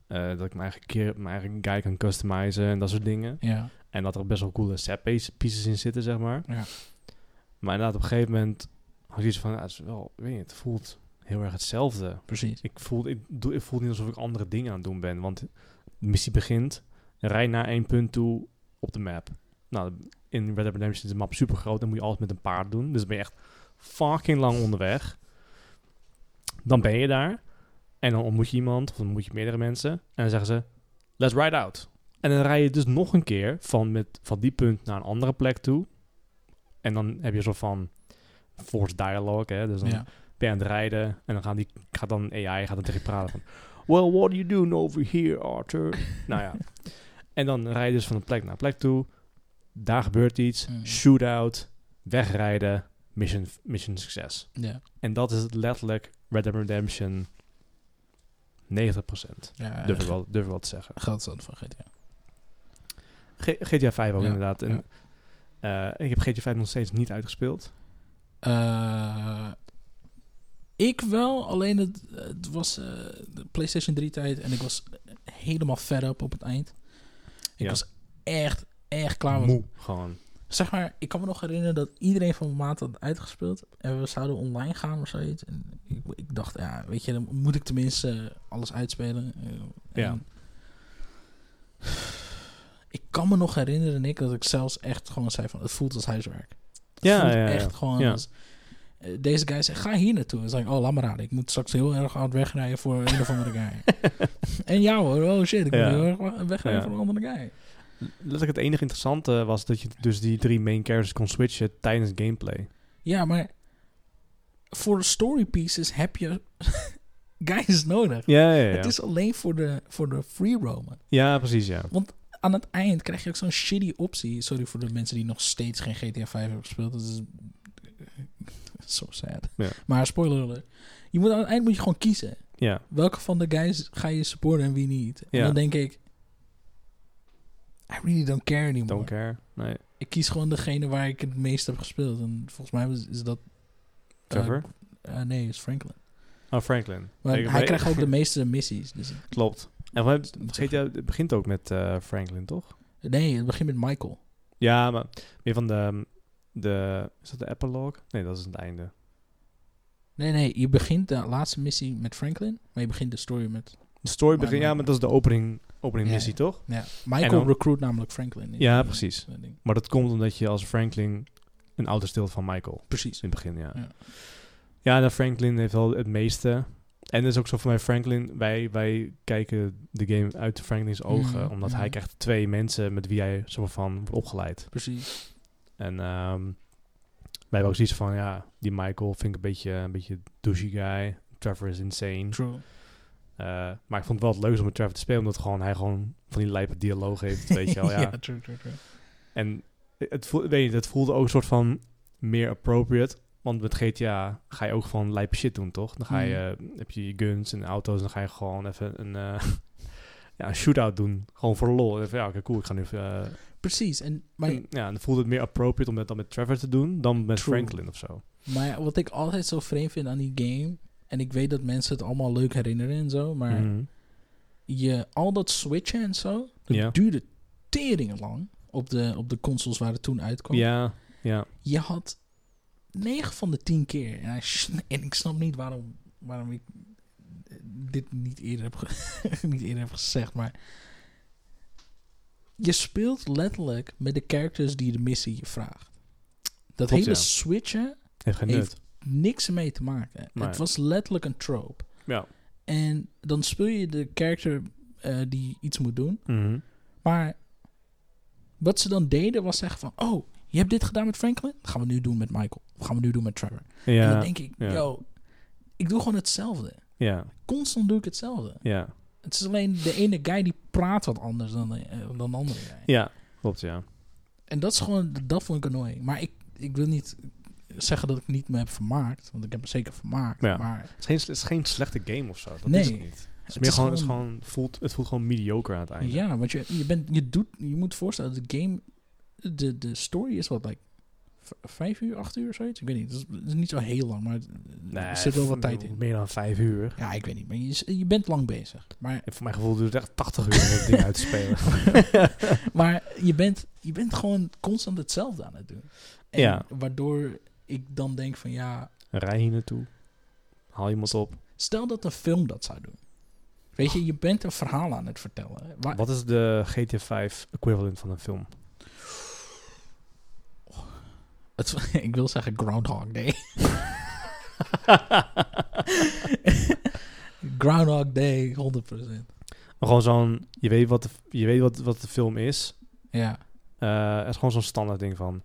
[SPEAKER 1] eh, dat ik mijn eigen, keer, mijn eigen guy kan customizen en dat soort dingen.
[SPEAKER 2] Ja,
[SPEAKER 1] En dat er best wel coole set piece- pieces in zitten, zeg maar.
[SPEAKER 2] Ja.
[SPEAKER 1] Maar inderdaad, op een gegeven moment had ik iets van, ja, het is wel, ik weet niet, het voelt heel erg hetzelfde
[SPEAKER 2] precies.
[SPEAKER 1] ik voel, ik, doe, ik voel niet alsof ik andere dingen aan het doen ben. Want de missie begint, rij naar één punt toe op de map. Nou, in Red Dead Redemption is de map super groot. Dan moet je alles met een paard doen. Dus dan ben je echt fucking lang onderweg. Dan ben je daar. En dan ontmoet je iemand, of dan ontmoet je meerdere mensen. En dan zeggen ze, let's ride out. En dan rij je dus nog een keer van, met, van die punt naar een andere plek toe. En dan heb je zo van forced dialogue, hè. Dus dan
[SPEAKER 2] Ja.
[SPEAKER 1] ben je aan het rijden. En dan gaan die, gaat dan AI gaat dan tegen je praten van... Well, what are you doing over here, Arthur? nou ja. En dan rij je dus van een plek naar plek toe. Daar gebeurt iets.
[SPEAKER 2] Mm.
[SPEAKER 1] Shootout. Wegrijden. Mission, mission succes.
[SPEAKER 2] Ja.
[SPEAKER 1] En dat is het letterlijk Red Dead Redemption 90%.
[SPEAKER 2] ja
[SPEAKER 1] Durf ik wel, durf ik wel te zeggen.
[SPEAKER 2] Geld zat van GTA.
[SPEAKER 1] G- GTA 5 ook
[SPEAKER 2] Ja,
[SPEAKER 1] inderdaad. En, eh, ik heb GTA 5 nog steeds niet uitgespeeld.
[SPEAKER 2] Eh, ik wel, alleen het, het was eh, de PlayStation 3 tijd en ik was helemaal fed up op het eind. Ik
[SPEAKER 1] Ja.
[SPEAKER 2] was echt, echt klaar. want
[SPEAKER 1] Moe. Gewoon.
[SPEAKER 2] Zeg maar, ik kan me nog herinneren dat iedereen van mijn maat had uitgespeeld. En we zouden online gaan of zoiets. En ik, ik dacht, ja, weet je, dan moet ik tenminste eh, alles uitspelen. Eh, en-
[SPEAKER 1] Ja.
[SPEAKER 2] Ik kan me nog herinneren, Nick, dat ik zelfs echt gewoon zei van... Het voelt als huiswerk. Het
[SPEAKER 1] Ja,
[SPEAKER 2] voelt
[SPEAKER 1] ja, ja.
[SPEAKER 2] echt gewoon
[SPEAKER 1] Ja.
[SPEAKER 2] als... eh, Deze guy zegt, ga hier naartoe. En zei ik, oh, laat maar raden. Ik moet straks heel erg hard wegrijden voor een of andere guy. en ja hoor, oh shit, ik
[SPEAKER 1] Ja.
[SPEAKER 2] moet heel erg wa- wegrijden
[SPEAKER 1] Ja.
[SPEAKER 2] voor een andere guy.
[SPEAKER 1] Letterlijk het enige interessante was dat je dus die drie main characters kon switchen tijdens gameplay.
[SPEAKER 2] Ja, maar voor de story pieces heb je guys nodig.
[SPEAKER 1] Ja, ja, ja.
[SPEAKER 2] Het is alleen voor de, voor de free roamen.
[SPEAKER 1] Ja, precies, ja.
[SPEAKER 2] Aan het eind krijg je ook zo'n shitty optie. Sorry voor de mensen die nog steeds geen GTA 5 hebben gespeeld. Dat is eh, so sad.
[SPEAKER 1] Ja.
[SPEAKER 2] Maar spoiler alert. Je moet, aan het eind moet je gewoon kiezen.
[SPEAKER 1] Ja,
[SPEAKER 2] Welke van de guys ga je supporten en wie niet? En
[SPEAKER 1] Ja.
[SPEAKER 2] dan denk ik... I really don't care anymore.
[SPEAKER 1] don't care. Nee.
[SPEAKER 2] Ik kies gewoon degene waar ik het meest heb gespeeld. En volgens mij is, is dat...
[SPEAKER 1] Trevor?
[SPEAKER 2] eh, eh, nee, is Franklin.
[SPEAKER 1] Oh, Franklin.
[SPEAKER 2] Maar
[SPEAKER 1] Ik-
[SPEAKER 2] hij
[SPEAKER 1] ik-
[SPEAKER 2] krijgt ook de meeste missies. Dus
[SPEAKER 1] Klopt. En wat
[SPEAKER 2] Dat moet
[SPEAKER 1] GTA het begint ook met eh, Franklin, toch?
[SPEAKER 2] nee, het begint met Michael.
[SPEAKER 1] Ja, maar meer van de, ehm, de... Is dat de epilogue? Nee, dat is het einde.
[SPEAKER 2] Nee, nee, je begint de laatste missie met Franklin, maar je begint de story met...
[SPEAKER 1] De story
[SPEAKER 2] Maar-
[SPEAKER 1] begint... Ja,
[SPEAKER 2] maar-
[SPEAKER 1] maar dat is de opening, opening
[SPEAKER 2] Ja,
[SPEAKER 1] missie, toch?
[SPEAKER 2] nou Ja,
[SPEAKER 1] En
[SPEAKER 2] Michael
[SPEAKER 1] dan-
[SPEAKER 2] recruit namelijk Franklin. in
[SPEAKER 1] Ja,
[SPEAKER 2] die-
[SPEAKER 1] precies.
[SPEAKER 2] dat ding.
[SPEAKER 1] Maar dat komt omdat je als Franklin een auto steelt van Michael.
[SPEAKER 2] Precies.
[SPEAKER 1] In het begin, ja. nou,
[SPEAKER 2] Ja.
[SPEAKER 1] Ja, dan Franklin heeft wel het meeste. En dat is ook zo voor mij Franklin. Wij, wij kijken de game uit Franklin's ogen.
[SPEAKER 2] Mhm,
[SPEAKER 1] Omdat
[SPEAKER 2] mhm.
[SPEAKER 1] hij krijgt twee mensen met wie hij soort van wordt opgeleid.
[SPEAKER 2] Precies.
[SPEAKER 1] En ehm, wij hebben ook zoiets van, ja, die Michael vind ik een beetje een beetje douchey guy. Trevor is insane.
[SPEAKER 2] True.
[SPEAKER 1] Eh, maar ik vond het wel het leukste om met Trevor te spelen, omdat gewoon, hij gewoon van die lijpe dialoog heeft, weet je wel. Ja.
[SPEAKER 2] true, true, true.
[SPEAKER 1] En het, voel, weet je, het voelde ook een soort van meer appropriate. Want met GTA ga je ook gewoon lijpe shit doen, toch? Dan ga je,
[SPEAKER 2] Mm.
[SPEAKER 1] heb je je guns en auto's en dan ga je gewoon even een, eh, ja, een shootout doen. Gewoon voor de lol. Even, ja, oké, cool, ik ga nu even... eh,
[SPEAKER 2] Precies. En, maar,
[SPEAKER 1] en, ja, dan voelde het meer appropriate om dat dan met Trevor te doen dan met
[SPEAKER 2] True.
[SPEAKER 1] Franklin of zo.
[SPEAKER 2] maar wat ik altijd zo vreemd vind aan die game... En ik weet dat mensen het allemaal leuk herinneren en zo, maar...
[SPEAKER 1] Mhm.
[SPEAKER 2] je, al dat switchen en zo, dat
[SPEAKER 1] Ja.
[SPEAKER 2] duurde teringen lang op de, op de consoles waar het toen uitkwam.
[SPEAKER 1] Ja, ja.
[SPEAKER 2] Je had 9 van de 10 keer. En, hij sn- en ik snap niet waarom, waarom ik eh, dit niet eerder, heb ge- niet eerder heb gezegd, maar je speelt letterlijk met de characters die de missie je vraagt. Dat
[SPEAKER 1] Klopt,
[SPEAKER 2] hele
[SPEAKER 1] ja.
[SPEAKER 2] switchen
[SPEAKER 1] Heeft geen
[SPEAKER 2] heeft
[SPEAKER 1] nut.
[SPEAKER 2] niks mee te maken.
[SPEAKER 1] Nee.
[SPEAKER 2] Het was letterlijk een trope.
[SPEAKER 1] Ja.
[SPEAKER 2] En dan speel je de character eh, die iets moet doen.
[SPEAKER 1] Mhm.
[SPEAKER 2] Maar wat ze dan deden was zeggen van... Oh, je hebt dit gedaan met Franklin? Dat gaan we nu doen met Michael. Dat gaan we nu doen met Trevor. En dan
[SPEAKER 1] Ja,
[SPEAKER 2] denk ik,
[SPEAKER 1] ja.
[SPEAKER 2] yo, ik doe gewoon hetzelfde.
[SPEAKER 1] ja,
[SPEAKER 2] Constant doe ik hetzelfde.
[SPEAKER 1] ja.
[SPEAKER 2] Het is alleen de ene guy die praat wat anders dan, de- eh, dan de andere guy.
[SPEAKER 1] Ja, klopt, ja.
[SPEAKER 2] En dat is gewoon, dat vond ik annoying. Maar ik, ik wil niet zeggen dat ik niet me heb vermaakt. Want ik heb me zeker vermaakt.
[SPEAKER 1] Ja.
[SPEAKER 2] Maar
[SPEAKER 1] Het is geen, het is geen slechte game of zo. Dat
[SPEAKER 2] Nee.
[SPEAKER 1] is het niet. Het, is
[SPEAKER 2] Het
[SPEAKER 1] meer
[SPEAKER 2] is
[SPEAKER 1] gewoon, het, is
[SPEAKER 2] gewoon-
[SPEAKER 1] gewoon, voelt, het voelt gewoon mediocre aan het einde.
[SPEAKER 2] Ja, want je, je, bent, je, doet, je moet voorstellen, dat de game, de, de story is wat, like, v- vijf uur, acht uur, zoiets? Ik weet niet, het is, het is niet zo heel lang, maar het- er zit wel wat tijd in.
[SPEAKER 1] Meer dan vijf uur.
[SPEAKER 2] Ja, ik weet niet, maar je, is- je bent lang bezig. Maar,
[SPEAKER 1] En voor mijn gevoel duurt het echt 80 uur om dat ding uit te spelen.
[SPEAKER 2] maar je, bent, je bent gewoon constant hetzelfde aan het doen. En
[SPEAKER 1] Ja.
[SPEAKER 2] Waardoor ik dan denk van, ja,
[SPEAKER 1] Rij hier naartoe. Haal iemand op.
[SPEAKER 2] stel dat een film dat zou doen. Weet je, je bent een verhaal aan het vertellen. Waar,
[SPEAKER 1] Wat is de GTA 5 equivalent van een film?
[SPEAKER 2] het- ik wil zeggen Groundhog Day. Groundhog Day, 100%.
[SPEAKER 1] Maar gewoon zo'n... Je weet wat de, je weet wat, wat de film is.
[SPEAKER 2] Ja,
[SPEAKER 1] Eh, er is gewoon zo'n standaard ding van...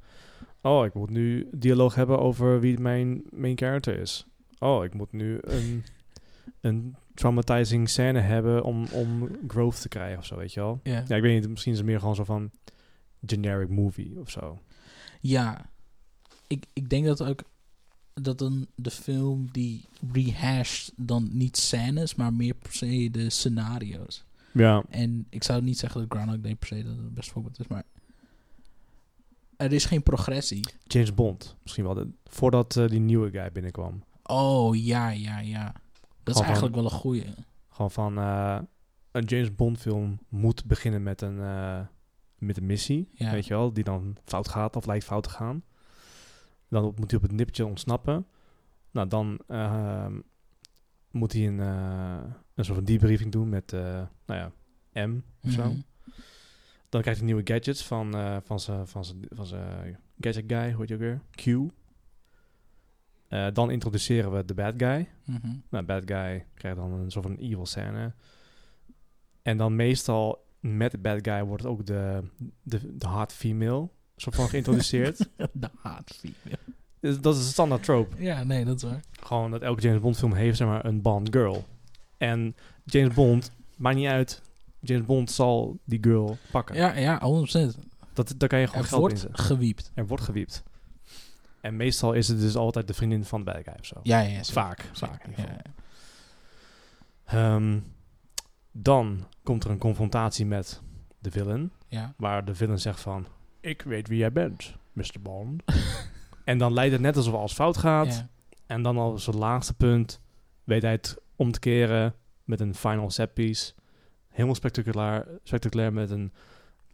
[SPEAKER 1] Oh, ik moet nu dialoog hebben over wie mijn main character is. Oh, ik moet nu een, een traumatizing scène hebben om, om growth te krijgen of zo, weet je wel.
[SPEAKER 2] ja.
[SPEAKER 1] Ja, ik weet niet, misschien is het meer gewoon zo van generic movie of zo.
[SPEAKER 2] Ja. Ik, ik denk dat ook dat dan de film die rehasht dan niet scènes, maar meer per se de scenario's.
[SPEAKER 1] Ja.
[SPEAKER 2] En ik zou niet zeggen dat Groundhog Day per se dat het best voorbeeld is, maar er is geen progressie.
[SPEAKER 1] James Bond, misschien wel. de- voordat eh, die nieuwe guy binnenkwam.
[SPEAKER 2] Oh, ja, ja, ja. Dat is
[SPEAKER 1] Gewoon-
[SPEAKER 2] eigenlijk wel een goeie.
[SPEAKER 1] Gewoon van, eh, een James Bond film moet beginnen met een, eh, met een missie,
[SPEAKER 2] Ja.
[SPEAKER 1] weet je wel. Die dan fout gaat of lijkt fout te gaan. Dan op- moet hij op het nippertje ontsnappen. Nou, dan ehm, moet hij een, eh, een soort van debriefing doen met, eh, nou ja, M of zo.
[SPEAKER 2] Mhm.
[SPEAKER 1] Dan krijgt hij nieuwe gadgets van, eh, van zijn van zijn- van zijn gadget guy, hoe heet je ook weer? Q. Eh, dan introduceren we de bad guy.
[SPEAKER 2] Mhm.
[SPEAKER 1] Nou, bad guy krijgt dan een soort van evil scène. En dan meestal met de bad guy wordt ook de, de, de hot female soort van geïntroduceerd.
[SPEAKER 2] De haat female.
[SPEAKER 1] Dus dat is een standaard trope.
[SPEAKER 2] Ja, nee, dat is waar.
[SPEAKER 1] Gewoon dat elke James Bond film heeft zeg maar een Bond girl. En James Bond, maakt niet uit, James Bond zal die girl pakken.
[SPEAKER 2] Ja, ja, 100%.
[SPEAKER 1] Dat, daar kan je gewoon
[SPEAKER 2] Er
[SPEAKER 1] geld in
[SPEAKER 2] wordt
[SPEAKER 1] zetten.
[SPEAKER 2] gewiept.
[SPEAKER 1] Er wordt gewiept. En meestal is het dus altijd de vriendin van de bad guy of zo.
[SPEAKER 2] Ja, ja, ja. zeker.
[SPEAKER 1] vaak. vaak in
[SPEAKER 2] Zeker,
[SPEAKER 1] ieder
[SPEAKER 2] ja.
[SPEAKER 1] geval. Ehm, dan komt er een confrontatie met de villain.
[SPEAKER 2] ja.
[SPEAKER 1] Waar de villain zegt van... Ik weet wie jij bent, Mr. Bond. en dan leidt het net alsof alles fout gaat.
[SPEAKER 2] ja.
[SPEAKER 1] En dan als het laatste punt weet hij het om te keren met een final set piece. Helemaal spectaculair, spectaculair met een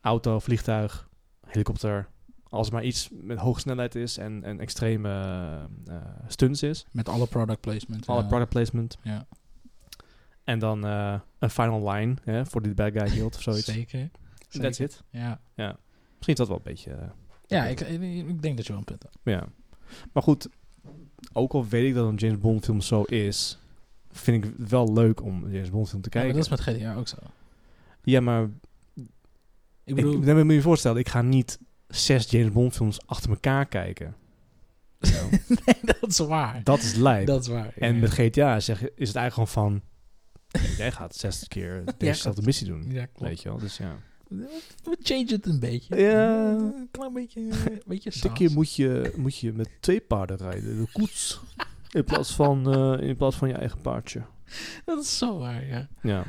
[SPEAKER 1] auto, vliegtuig, helikopter. Als het maar iets met hoge snelheid is en, en extreme eh, eh, stunts is.
[SPEAKER 2] Met alle product placement. eh,
[SPEAKER 1] Alle
[SPEAKER 2] ja.
[SPEAKER 1] product placement.
[SPEAKER 2] Ja.
[SPEAKER 1] En dan eh, een final line hè, voor die de bad guy hield of zoiets.
[SPEAKER 2] Zeker. zeker.
[SPEAKER 1] That's it.
[SPEAKER 2] Ja,
[SPEAKER 1] Misschien is dat wel een beetje... eh,
[SPEAKER 2] ja ik, ik ik denk dat je wel een punt hebt.
[SPEAKER 1] Ja. Maar goed, ook al weet ik dat een James Bond film zo is, vind ik wel leuk om een James Bond film te
[SPEAKER 2] Ja, maar
[SPEAKER 1] kijken.
[SPEAKER 2] dat is met GTA ook zo.
[SPEAKER 1] Ja, maar
[SPEAKER 2] Ik
[SPEAKER 1] ik,
[SPEAKER 2] bedoel,
[SPEAKER 1] dan moet je je voorstellen, ik ga niet zes James Bond films achter elkaar kijken. Nou,
[SPEAKER 2] dat is waar.
[SPEAKER 1] Dat is lijp.
[SPEAKER 2] Dat is waar. ja.
[SPEAKER 1] En met GTA zeg, je- is het eigenlijk gewoon van... jij gaat 60 keer dezezelfde
[SPEAKER 2] klopt.
[SPEAKER 1] missie doen.
[SPEAKER 2] ja, klopt.
[SPEAKER 1] Weet je wel, dus ja.
[SPEAKER 2] We change het een beetje.
[SPEAKER 1] Ja.
[SPEAKER 2] Een klein beetje, een beetje
[SPEAKER 1] Dit
[SPEAKER 2] saus.
[SPEAKER 1] keer moet je, moet je met twee paarden rijden. De koets. In plaats van, eh, in plaats van je eigen paardje.
[SPEAKER 2] Dat is zo waar, ja.
[SPEAKER 1] Ja.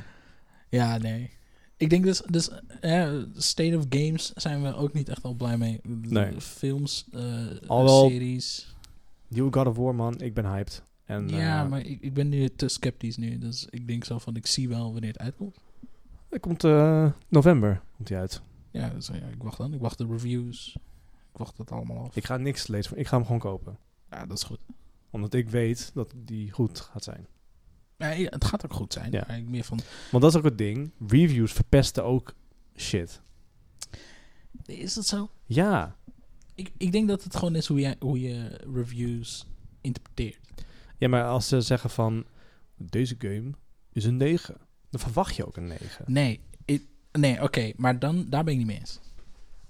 [SPEAKER 2] Ja, nee. Ik denk dus, dus eh, State of Games zijn we ook niet echt al blij mee.
[SPEAKER 1] Nee.
[SPEAKER 2] Films, eh,
[SPEAKER 1] Alhoewel-
[SPEAKER 2] series.
[SPEAKER 1] Nieuwe God of War, man. Ik ben hyped. En,
[SPEAKER 2] ja,
[SPEAKER 1] eh,
[SPEAKER 2] maar ik, ik ben nu te sceptisch nu. Dus ik denk zo van, ik zie wel wanneer het uitkomt.
[SPEAKER 1] Hij komt eh, november komt hij uit.
[SPEAKER 2] Ja, dus, ja, ik wacht dan. Ik wacht de reviews. Ik wacht het allemaal af.
[SPEAKER 1] Ik ga niks lezen. Ik ga hem gewoon kopen.
[SPEAKER 2] ja, dat is goed.
[SPEAKER 1] Omdat ik weet dat die goed gaat zijn.
[SPEAKER 2] Ja, ja, het gaat ook goed zijn.
[SPEAKER 1] Ja.
[SPEAKER 2] Maar ik meer van,
[SPEAKER 1] Want dat is ook het ding. Reviews verpesten ook shit.
[SPEAKER 2] is dat zo?
[SPEAKER 1] Ja.
[SPEAKER 2] Ik, ik denk dat het gewoon is hoe, jij, hoe je reviews interpreteert.
[SPEAKER 1] Ja, maar als ze zeggen van... Deze game is een 9. Dan verwacht je ook een 9.
[SPEAKER 2] Nee, ik- nee oké. maar dan, daar ben ik niet mee eens.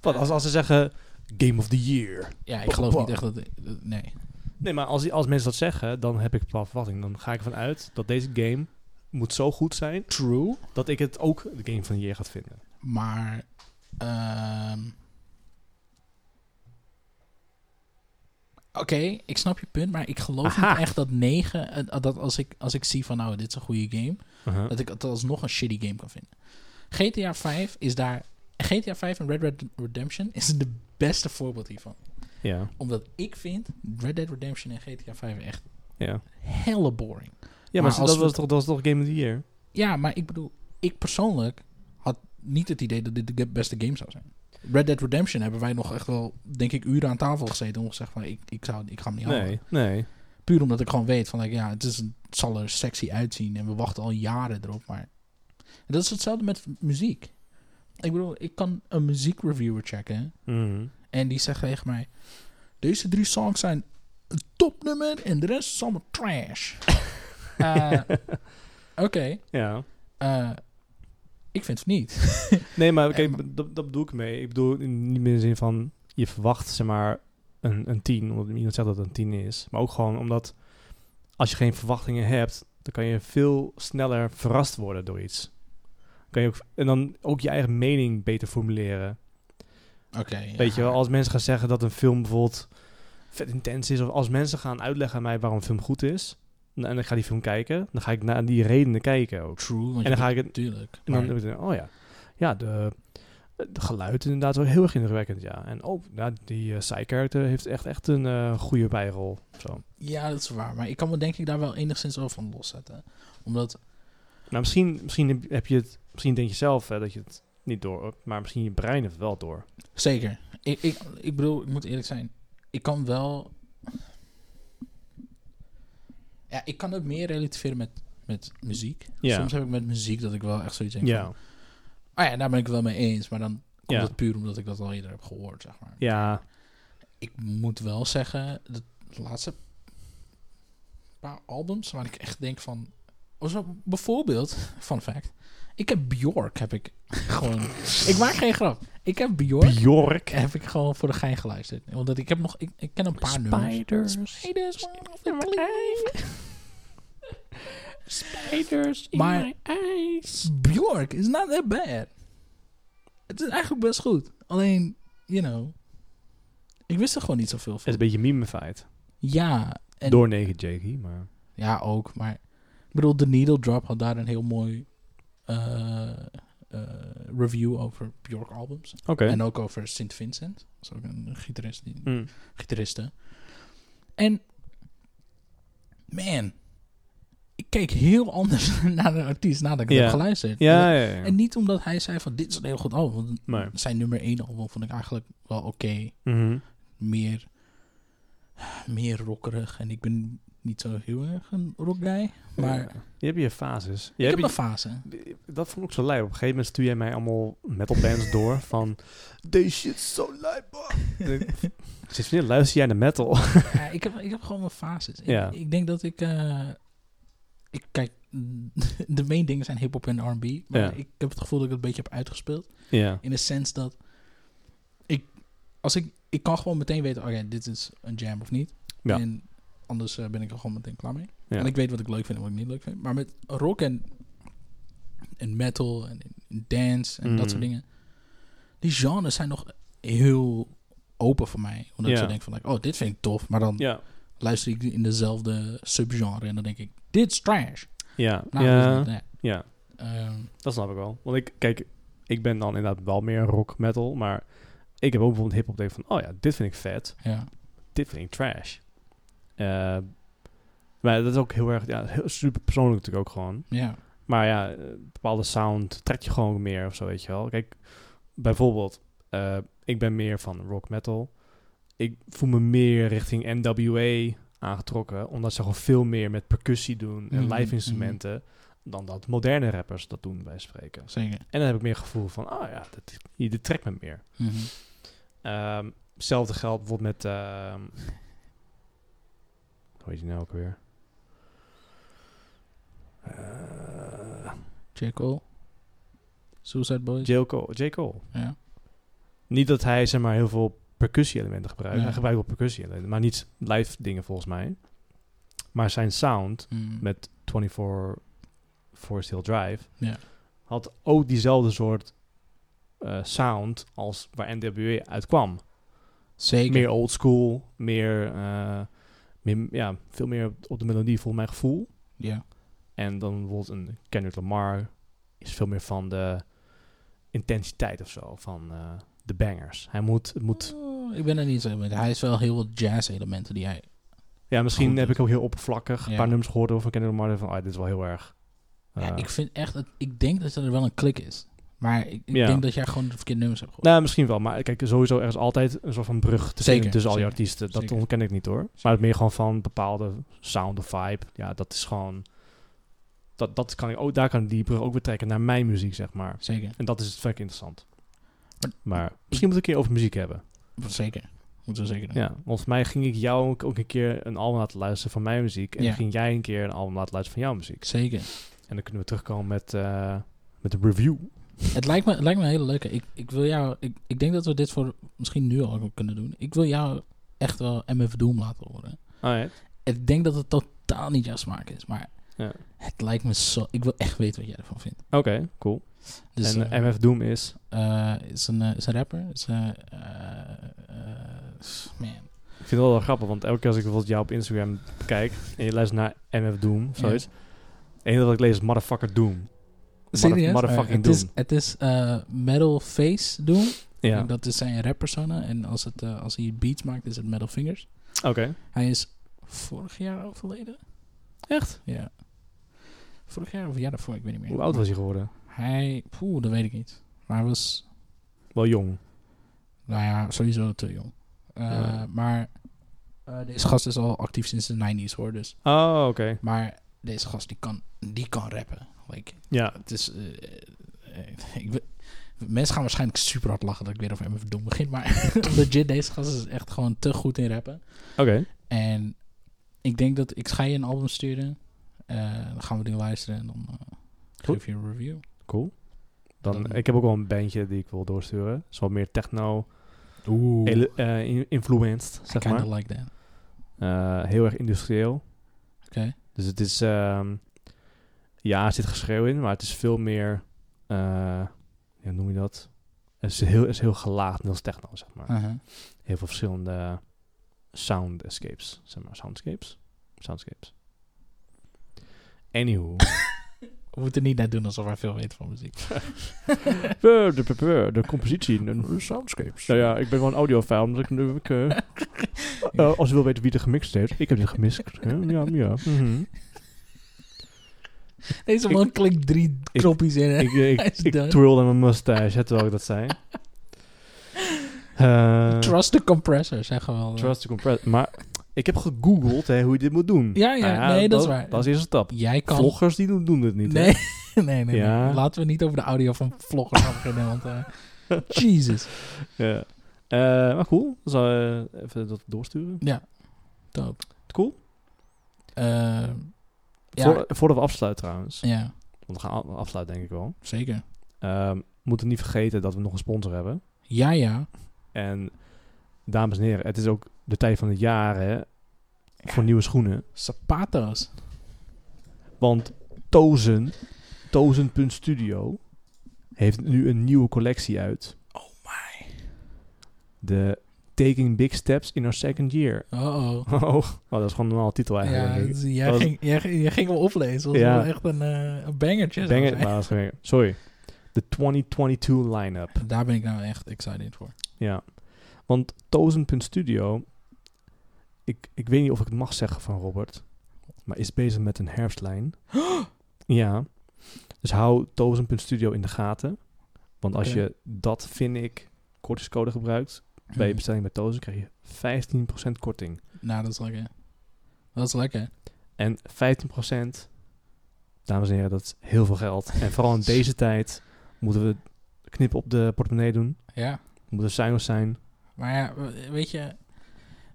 [SPEAKER 1] Wat als, als ze zeggen... Game of the year.
[SPEAKER 2] Ja, ik geloof niet echt dat... dat- Nee.
[SPEAKER 1] Nee, maar als, als mensen dat zeggen, dan heb ik een verwachting. Dan ga ik ervan uit dat deze game moet zo goed zijn
[SPEAKER 2] True.
[SPEAKER 1] dat ik het ook de game van de year gaat vinden.
[SPEAKER 2] Maar. ehm, Oké, ik snap je punt, maar ik geloof
[SPEAKER 1] Aha.
[SPEAKER 2] niet echt dat 9. eh, Dat als ik, als ik zie van nou, dit is een goede game. Dat ik het alsnog een shitty game kan vinden. GTA 5 is daar. GTA 5 en Red Dead Redemption is de beste voorbeeld hiervan.
[SPEAKER 1] Ja,
[SPEAKER 2] Omdat ik vind Red Dead Redemption en GTA 5 echt
[SPEAKER 1] ja.
[SPEAKER 2] helle boring.
[SPEAKER 1] Ja, maar,
[SPEAKER 2] Maar
[SPEAKER 1] ze-
[SPEAKER 2] als
[SPEAKER 1] dat,
[SPEAKER 2] we-
[SPEAKER 1] was toch, dat was toch game of the year?
[SPEAKER 2] Ja, maar ik bedoel, ik persoonlijk had niet het idee dat dit de beste game zou zijn. Red Dead Redemption hebben wij nog echt wel, denk ik, uren aan tafel gezeten om gezegd van, ik, ik, zou, ik ga hem niet halen.
[SPEAKER 1] Nee, nee.
[SPEAKER 2] Puur omdat ik gewoon weet van, like, ja, het, is een, het zal er sexy uitzien en we wachten al jaren erop, maar... En dat is hetzelfde met muziek. Ik bedoel, ik kan een muziekreviewer checken
[SPEAKER 1] Mhm.
[SPEAKER 2] en die zegt tegen mij, deze drie songs zijn een topnummer en de rest is allemaal trash. Eh, Oké.
[SPEAKER 1] Ja.
[SPEAKER 2] Eh, ik vind het niet.
[SPEAKER 1] Nee, maar
[SPEAKER 2] En-
[SPEAKER 1] kijk, dat, dat bedoel ik mee. Ik bedoel in- niet meer in de zin van je verwacht zeg maar een, een 10, omdat iemand zegt dat het een 10 is. Maar ook gewoon omdat als je geen verwachtingen hebt, dan kan je veel sneller verrast worden door iets. Kan je ook, en dan ook je eigen mening beter formuleren.
[SPEAKER 2] Oké. ja.
[SPEAKER 1] Weet je wel, als mensen gaan zeggen dat een film bijvoorbeeld vet intens is, of als mensen gaan uitleggen aan mij waarom een film goed is, en en ik ga die film kijken, dan ga ik naar die redenen kijken ook.
[SPEAKER 2] True. Want
[SPEAKER 1] En dan ga ik het
[SPEAKER 2] Natuurlijk.
[SPEAKER 1] en dan heb ik het, oh ja, ja, de, de geluid inderdaad wel heel erg indrukwekkend, ja. En oh, ja, die eh side-character heeft echt, echt een eh, goede bijrol. of Zo.
[SPEAKER 2] Ja, dat is waar. Maar ik kan me denk ik daar wel enigszins over van loszetten. Omdat...
[SPEAKER 1] Nou, misschien, misschien heb- heb je het, misschien denk je zelf hè, dat je het niet door hebt, maar misschien je brein heeft het wel door.
[SPEAKER 2] Zeker. Ik, ik, ik bedoel, ik moet eerlijk zijn. Ik kan wel... Ja, ik kan het meer relativeren met, met muziek.
[SPEAKER 1] Ja.
[SPEAKER 2] Soms heb ik met muziek dat ik wel echt zoiets denk
[SPEAKER 1] Ja,
[SPEAKER 2] van... Oh ja, daar ben ik het wel mee eens. Maar dan komt
[SPEAKER 1] Ja.
[SPEAKER 2] het puur omdat ik dat al eerder heb gehoord, zeg maar.
[SPEAKER 1] ja,
[SPEAKER 2] ik moet wel zeggen, de laatste paar albums waar ik echt denk van... oh, Zo, bijvoorbeeld, fun fact, ik heb Bjork, heb ik gewoon... ik maak geen grap. Ik heb Bjork,
[SPEAKER 1] Bjork.
[SPEAKER 2] heb ik gewoon voor de gein geluisterd. Omdat ik heb nog, ik, ik ken een paar nummers. Spiders on the cleave.
[SPEAKER 1] Spiders
[SPEAKER 2] in Maar- my
[SPEAKER 1] eyes.
[SPEAKER 2] Bjork is not that bad. Het is eigenlijk best goed. Alleen, you know, ik wist er gewoon niet zoveel
[SPEAKER 1] Het is een
[SPEAKER 2] van.
[SPEAKER 1] beetje mimified.
[SPEAKER 2] Ja, en
[SPEAKER 1] Door 9 Jakey, maar...
[SPEAKER 2] Ja, ook. Maar ik bedoel, de Needle Drop had daar een heel mooi eh, eh, review over Bjork albums.
[SPEAKER 1] Oké.
[SPEAKER 2] En ook over Sint Vincent. Dat is ook een gitarist. Die,
[SPEAKER 1] Mm.
[SPEAKER 2] gitariste. En man, ik keek heel anders naar de artiest nadat ik het
[SPEAKER 1] Ja.
[SPEAKER 2] heb geluisterd.
[SPEAKER 1] Ja, ja, ja.
[SPEAKER 2] En niet omdat hij zei van dit is een heel goed album. Want
[SPEAKER 1] Nee.
[SPEAKER 2] zijn nummer één album vond ik eigenlijk wel oké
[SPEAKER 1] Mhm.
[SPEAKER 2] meer, meer rockerig. En ik ben niet zo heel erg een rock guy. Maar
[SPEAKER 1] Ja. Je hebt je fases. Je
[SPEAKER 2] ik heb
[SPEAKER 1] hebt je-
[SPEAKER 2] mijn fase.
[SPEAKER 1] Dat vond ik ook zo lijp. Op een gegeven moment stuur jij mij allemaal metal bands door van... Deze shit is zo lijp, man." Sinds wanneer luister jij naar metal?
[SPEAKER 2] ja, ik, heb, ik heb gewoon mijn fases. Ik,
[SPEAKER 1] Ja.
[SPEAKER 2] ik denk dat ik... eh, ik kijk, mm, de main dingen zijn hip-hop en RB. Maar
[SPEAKER 1] Ja.
[SPEAKER 2] ik heb het gevoel dat ik het een beetje heb uitgespeeld.
[SPEAKER 1] Ja.
[SPEAKER 2] In de sens dat ik, als ik, ik kan gewoon meteen weten, oké, dit is een jam of niet.
[SPEAKER 1] Ja.
[SPEAKER 2] En anders eh, ben ik er gewoon meteen klaar mee.
[SPEAKER 1] Ja.
[SPEAKER 2] En ik weet wat ik leuk vind en wat ik niet leuk vind. Maar met rock en, en metal en, en dance en
[SPEAKER 1] Mm.
[SPEAKER 2] dat soort dingen. Die genres zijn nog heel open voor mij. Omdat ik
[SPEAKER 1] Ja.
[SPEAKER 2] zo denk van, like, oh, dit vind ik tof. Maar dan
[SPEAKER 1] Ja.
[SPEAKER 2] luister ik in dezelfde subgenre en dan denk ik, dit is trash.
[SPEAKER 1] Ja.
[SPEAKER 2] Nou,
[SPEAKER 1] ja.
[SPEAKER 2] dus, nee.
[SPEAKER 1] ja.
[SPEAKER 2] Ehm,
[SPEAKER 1] Dat snap ik wel. Want ik, kijk, ik ben dan inderdaad wel meer rock metal, maar ik heb ook bijvoorbeeld hip-hop denk van, oh ja, dit vind ik vet,
[SPEAKER 2] ja.
[SPEAKER 1] dit vind ik trash. Eh, maar dat is ook heel erg, ja, heel super persoonlijk natuurlijk ook gewoon.
[SPEAKER 2] Ja.
[SPEAKER 1] Maar ja, eh, bepaalde sound trek je gewoon meer of zo, weet je wel. Kijk, bijvoorbeeld, eh, ik ben meer van rock metal. Ik voel me meer richting NWA aangetrokken, omdat ze gewoon veel meer met percussie doen en
[SPEAKER 2] Mhm,
[SPEAKER 1] live instrumenten dan dat moderne rappers dat doen bij spreken.
[SPEAKER 2] zeker.
[SPEAKER 1] En dan heb ik meer gevoel van, ah ja, dit, hier, dit trekt me meer.
[SPEAKER 2] Mhm.
[SPEAKER 1] Ehm, hetzelfde geldt bijvoorbeeld met, ehm hoe heet die nou ook weer? Eh,
[SPEAKER 2] J. Cole. Suicide Boys.
[SPEAKER 1] J. Cole, J. Cole.
[SPEAKER 2] ja.
[SPEAKER 1] Niet dat hij zeg maar heel veel percussie-elementen gebruikt.
[SPEAKER 2] Ja.
[SPEAKER 1] Hij gebruikt wel percussie-elementen, maar niet live dingen volgens mij. Maar zijn sound
[SPEAKER 2] Mm.
[SPEAKER 1] met 24 Forest Hill Drive
[SPEAKER 2] Ja.
[SPEAKER 1] had ook diezelfde soort eh, sound als waar NWA uitkwam.
[SPEAKER 2] Zeker.
[SPEAKER 1] Meer old school, meer, eh, meer ja, veel meer op- op de melodie volgens mijn gevoel.
[SPEAKER 2] Ja.
[SPEAKER 1] En dan bijvoorbeeld een Kendrick Lamar is veel meer van de intensiteit of zo, van eh, de bangers. Hij moet, het moet
[SPEAKER 2] Oh, ik ben er niet zo mee. Hij is wel heel wat jazz-elementen die hij...
[SPEAKER 1] Ja, misschien
[SPEAKER 2] Goed,
[SPEAKER 1] heb
[SPEAKER 2] dat-
[SPEAKER 1] ik ook heel oppervlakkig een
[SPEAKER 2] Ja.
[SPEAKER 1] paar nummers gehoord over Kendrick Lamar. en Van, ah, dit is wel heel erg.
[SPEAKER 2] ja,
[SPEAKER 1] eh,
[SPEAKER 2] ik vind echt... Dat, ik denk dat er wel een klik is. Maar ik, ik
[SPEAKER 1] Ja.
[SPEAKER 2] denk dat jij gewoon de verkeerde nummers hebt gehoord.
[SPEAKER 1] nou, misschien wel. Maar kijk, sowieso er is altijd een soort van brug te
[SPEAKER 2] Zeker,
[SPEAKER 1] vinden tussen al die
[SPEAKER 2] zeker,
[SPEAKER 1] artiesten. Dat
[SPEAKER 2] zeker.
[SPEAKER 1] ontken ik niet hoor. Maar het meer gewoon van bepaalde sound of vibe. Ja, dat is gewoon... Dat, dat kan ik ook, daar kan ik die brug ook weer trekken naar mijn muziek, zeg maar.
[SPEAKER 2] Zeker.
[SPEAKER 1] En dat is het fucking interessant.
[SPEAKER 2] Maar-
[SPEAKER 1] Maar misschien moet ik een keer over muziek hebben.
[SPEAKER 2] Zeker. Moeten we zeker doen.
[SPEAKER 1] Ja, want volgens mij ging ik jou ook- ook een keer een album laten luisteren van mijn muziek. En
[SPEAKER 2] Ja.
[SPEAKER 1] ging jij een keer een album laten luisteren van jouw muziek.
[SPEAKER 2] Zeker.
[SPEAKER 1] En dan kunnen we terugkomen met, eh, met een review.
[SPEAKER 2] Het lijkt me, het lijkt me een hele leuke. Ik, ik wil jou... Ik, ik denk dat we dit voor misschien nu al ook kunnen doen. Ik wil jou echt wel MF Doom laten horen.
[SPEAKER 1] Alright.
[SPEAKER 2] Ik denk dat het totaal niet jouw smaak is. Maar
[SPEAKER 1] Ja.
[SPEAKER 2] het lijkt me zo... Ik wil echt weten wat jij ervan vindt.
[SPEAKER 1] Oké, cool.
[SPEAKER 2] Dus,
[SPEAKER 1] en
[SPEAKER 2] eh,
[SPEAKER 1] eh, MF Doom is...
[SPEAKER 2] eh, is, een, eh, is een rapper. Is, eh, eh, eh, man.
[SPEAKER 1] Ik vind het wel, wel grappig, want elke keer als ik bijvoorbeeld jou op Instagram kijk... en je luistert naar MF Doom of
[SPEAKER 2] Ja.
[SPEAKER 1] zoiets... het enige wat ik lees is Motherfucker Doom.
[SPEAKER 2] Serieus?
[SPEAKER 1] motherfucking
[SPEAKER 2] Eh, het
[SPEAKER 1] Doom.
[SPEAKER 2] is, het is eh, Metal Face Doom.
[SPEAKER 1] Ja,
[SPEAKER 2] En dat is zijn rappersona. En als, het, eh, als hij beats maakt, is het Metal Fingers.
[SPEAKER 1] oké.
[SPEAKER 2] Hij is vorig jaar overleden.
[SPEAKER 1] Echt?
[SPEAKER 2] Ja. Vorig jaar of het jaar daarvoor, ik weet niet meer.
[SPEAKER 1] Hoe oud was hij geworden?
[SPEAKER 2] Hij, poeh, dat weet ik niet. Maar hij was,
[SPEAKER 1] Wel jong.
[SPEAKER 2] nou ja, sowieso te jong. Eh,
[SPEAKER 1] Ja.
[SPEAKER 2] Maar eh, deze gast is al actief sinds de 90s hoor. Dus.
[SPEAKER 1] Oh, oké.
[SPEAKER 2] Maar deze gast die kan, die kan rappen. Like,
[SPEAKER 1] Ja.
[SPEAKER 2] Het is. eh, eh, ik, we- mensen gaan waarschijnlijk super hard lachen dat ik weer over MF Doom begin. Maar legit, deze gast is echt gewoon te goed in rappen.
[SPEAKER 1] Oké.
[SPEAKER 2] En ik denk dat ik ga je een album sturen. Eh, dan gaan we die luisteren en dan eh,
[SPEAKER 1] Goed.
[SPEAKER 2] geef je een review.
[SPEAKER 1] Cool. Dan,
[SPEAKER 2] Dan-
[SPEAKER 1] ik heb ook wel een bandje die ik wil doorsturen. Het is wat meer techno-influenced,
[SPEAKER 2] Oeh.
[SPEAKER 1] zeg
[SPEAKER 2] Kinda
[SPEAKER 1] maar.
[SPEAKER 2] like that. Oké.
[SPEAKER 1] Eh, heel erg industrieel. Dus het is... ehm, ja, er zit geschreeuw in, maar het is veel meer... eh ja, noem je dat? Het is heel, het is heel gelaagd, net als techno, zeg maar.
[SPEAKER 2] Uh-huh.
[SPEAKER 1] Heel veel verschillende sound escapes, zeg maar. Soundscapes? Soundscapes. Anywho.
[SPEAKER 2] We moeten niet net doen alsof wij veel weten van muziek.
[SPEAKER 1] Eh, de, de, de compositie. En,
[SPEAKER 2] Soundscapes.
[SPEAKER 1] nou ja, ik ben wel een audiofaal, omdat ik nu... Ik, eh, eh, als je wil weten wie er gemixt heeft, ik heb dit gemixt. Eh, ja, ja. mhm.
[SPEAKER 2] Deze man klinkt drie
[SPEAKER 1] ik-
[SPEAKER 2] knopjes in. hè?
[SPEAKER 1] ik, ik,
[SPEAKER 2] Hij is
[SPEAKER 1] ik
[SPEAKER 2] dood.
[SPEAKER 1] twirlde mijn mustache, hè, terwijl ik dat zei. Eh,
[SPEAKER 2] Trust the compressor, zeggen we wel.
[SPEAKER 1] trust to compress. Maar ik heb gegoogeld hè, hoe je dit moet doen.
[SPEAKER 2] Ja, ja,
[SPEAKER 1] Nou
[SPEAKER 2] nee, dat is waar.
[SPEAKER 1] Dat is de eerste stap.
[SPEAKER 2] Jij kan
[SPEAKER 1] Vloggers die doen, doen dit niet. hè.
[SPEAKER 2] Nee, nee, nee, nee.
[SPEAKER 1] Ja.
[SPEAKER 2] Laten we niet over de audio van vloggers gaan beginnen, want... eh, Jesus.
[SPEAKER 1] Ja. Eh, maar cool. Dan eh, zal je even dat doorsturen.
[SPEAKER 2] Ja. Dope.
[SPEAKER 1] Cool.
[SPEAKER 2] Eh, Ja.
[SPEAKER 1] Voor, voordat we afsluiten trouwens,
[SPEAKER 2] Ja,
[SPEAKER 1] want we gaan af- afsluiten denk ik wel.
[SPEAKER 2] zeker.
[SPEAKER 1] Ehm, we moeten niet vergeten dat we nog een sponsor hebben.
[SPEAKER 2] Ja, ja.
[SPEAKER 1] En dames en heren, het is ook de tijd van het jaar hè, voor nieuwe schoenen.
[SPEAKER 2] Zapatos.
[SPEAKER 1] Want Tozen, Tozen.studio, heeft nu een nieuwe collectie uit.
[SPEAKER 2] Oh my.
[SPEAKER 1] De Taking Big Steps in Our Second Year.
[SPEAKER 2] Oh-oh.
[SPEAKER 1] Oh, dat is gewoon een normale titel eigenlijk.
[SPEAKER 2] Ja,
[SPEAKER 1] denk ik.
[SPEAKER 2] dus jij,
[SPEAKER 1] Dat was-
[SPEAKER 2] ging, jij, ging- jij ging wel oplezen. Dat
[SPEAKER 1] Ja.
[SPEAKER 2] was wel echt een, eh een bangertje. zou
[SPEAKER 1] Banger-
[SPEAKER 2] ik
[SPEAKER 1] maar dat is geen- sorry. De 2022 line-up.
[SPEAKER 2] zeggen. Daar ben ik nou echt excited voor.
[SPEAKER 1] Ja. Want Tozen.studio, ik, ik weet niet of ik het mag zeggen van Robert, maar is bezig met een herfstlijn. ja. Dus hou Tozen.studio in de gaten. Want als
[SPEAKER 2] Oké.
[SPEAKER 1] je dat, vind ik, kortingscode gebruikt bij je
[SPEAKER 2] Hmm.
[SPEAKER 1] bestelling bij Tozen, krijg je 15% korting.
[SPEAKER 2] Nou, dat is lekker. Dat is lekker.
[SPEAKER 1] En 15%, dames en heren, dat is heel veel geld. En vooral in deze tijd moeten we knip op de portemonnee doen.
[SPEAKER 2] Ja.
[SPEAKER 1] Moeten we zuinig zijn.
[SPEAKER 2] Maar ja, we- weet je,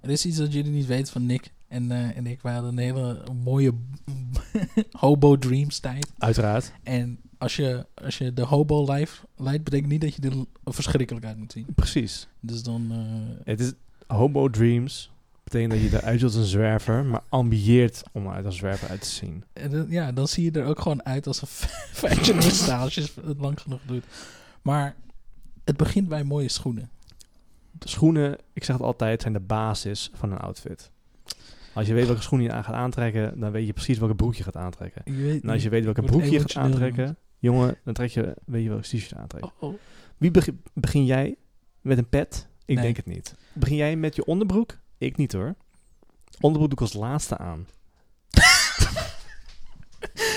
[SPEAKER 2] er is iets dat jullie niet weten van Nick en, eh, en ik. Wij hadden een hele mooie hobo dreams tijd.
[SPEAKER 1] Uiteraard.
[SPEAKER 2] En als je, als je de hobo life leidt, betekent niet dat je er verschrikkelijk uit moet zien.
[SPEAKER 1] Precies.
[SPEAKER 2] Dus dan... eh,
[SPEAKER 1] Het is homo dreams. Betekent dat je eruit ziet als een zwerver, maar ambieert om eruit als een zwerver uit te zien.
[SPEAKER 2] en dan- ja, dan zie je er ook gewoon uit als een fashionista als je het lang genoeg doet. Maar het begint bij mooie schoenen.
[SPEAKER 1] De schoenen, ik zeg het altijd, zijn de basis van een outfit. Als je weet welke schoenen je aan gaat aantrekken, dan weet je precies welke broek je gaat aantrekken.
[SPEAKER 2] Je weet
[SPEAKER 1] En Nou, als je
[SPEAKER 2] niet-
[SPEAKER 1] weet welke
[SPEAKER 2] wordt
[SPEAKER 1] broek je gaat
[SPEAKER 2] emotioneel
[SPEAKER 1] aantrekken, jongen, dan trek je, weet je welke t-shirt je aantrekt.
[SPEAKER 2] Oh, oh.
[SPEAKER 1] Wie begin, begin jij met een pet? Ik
[SPEAKER 2] Nee.
[SPEAKER 1] denk het niet. Begin jij met je onderbroek? Ik niet hoor. Onderbroek doe ik als laatste aan.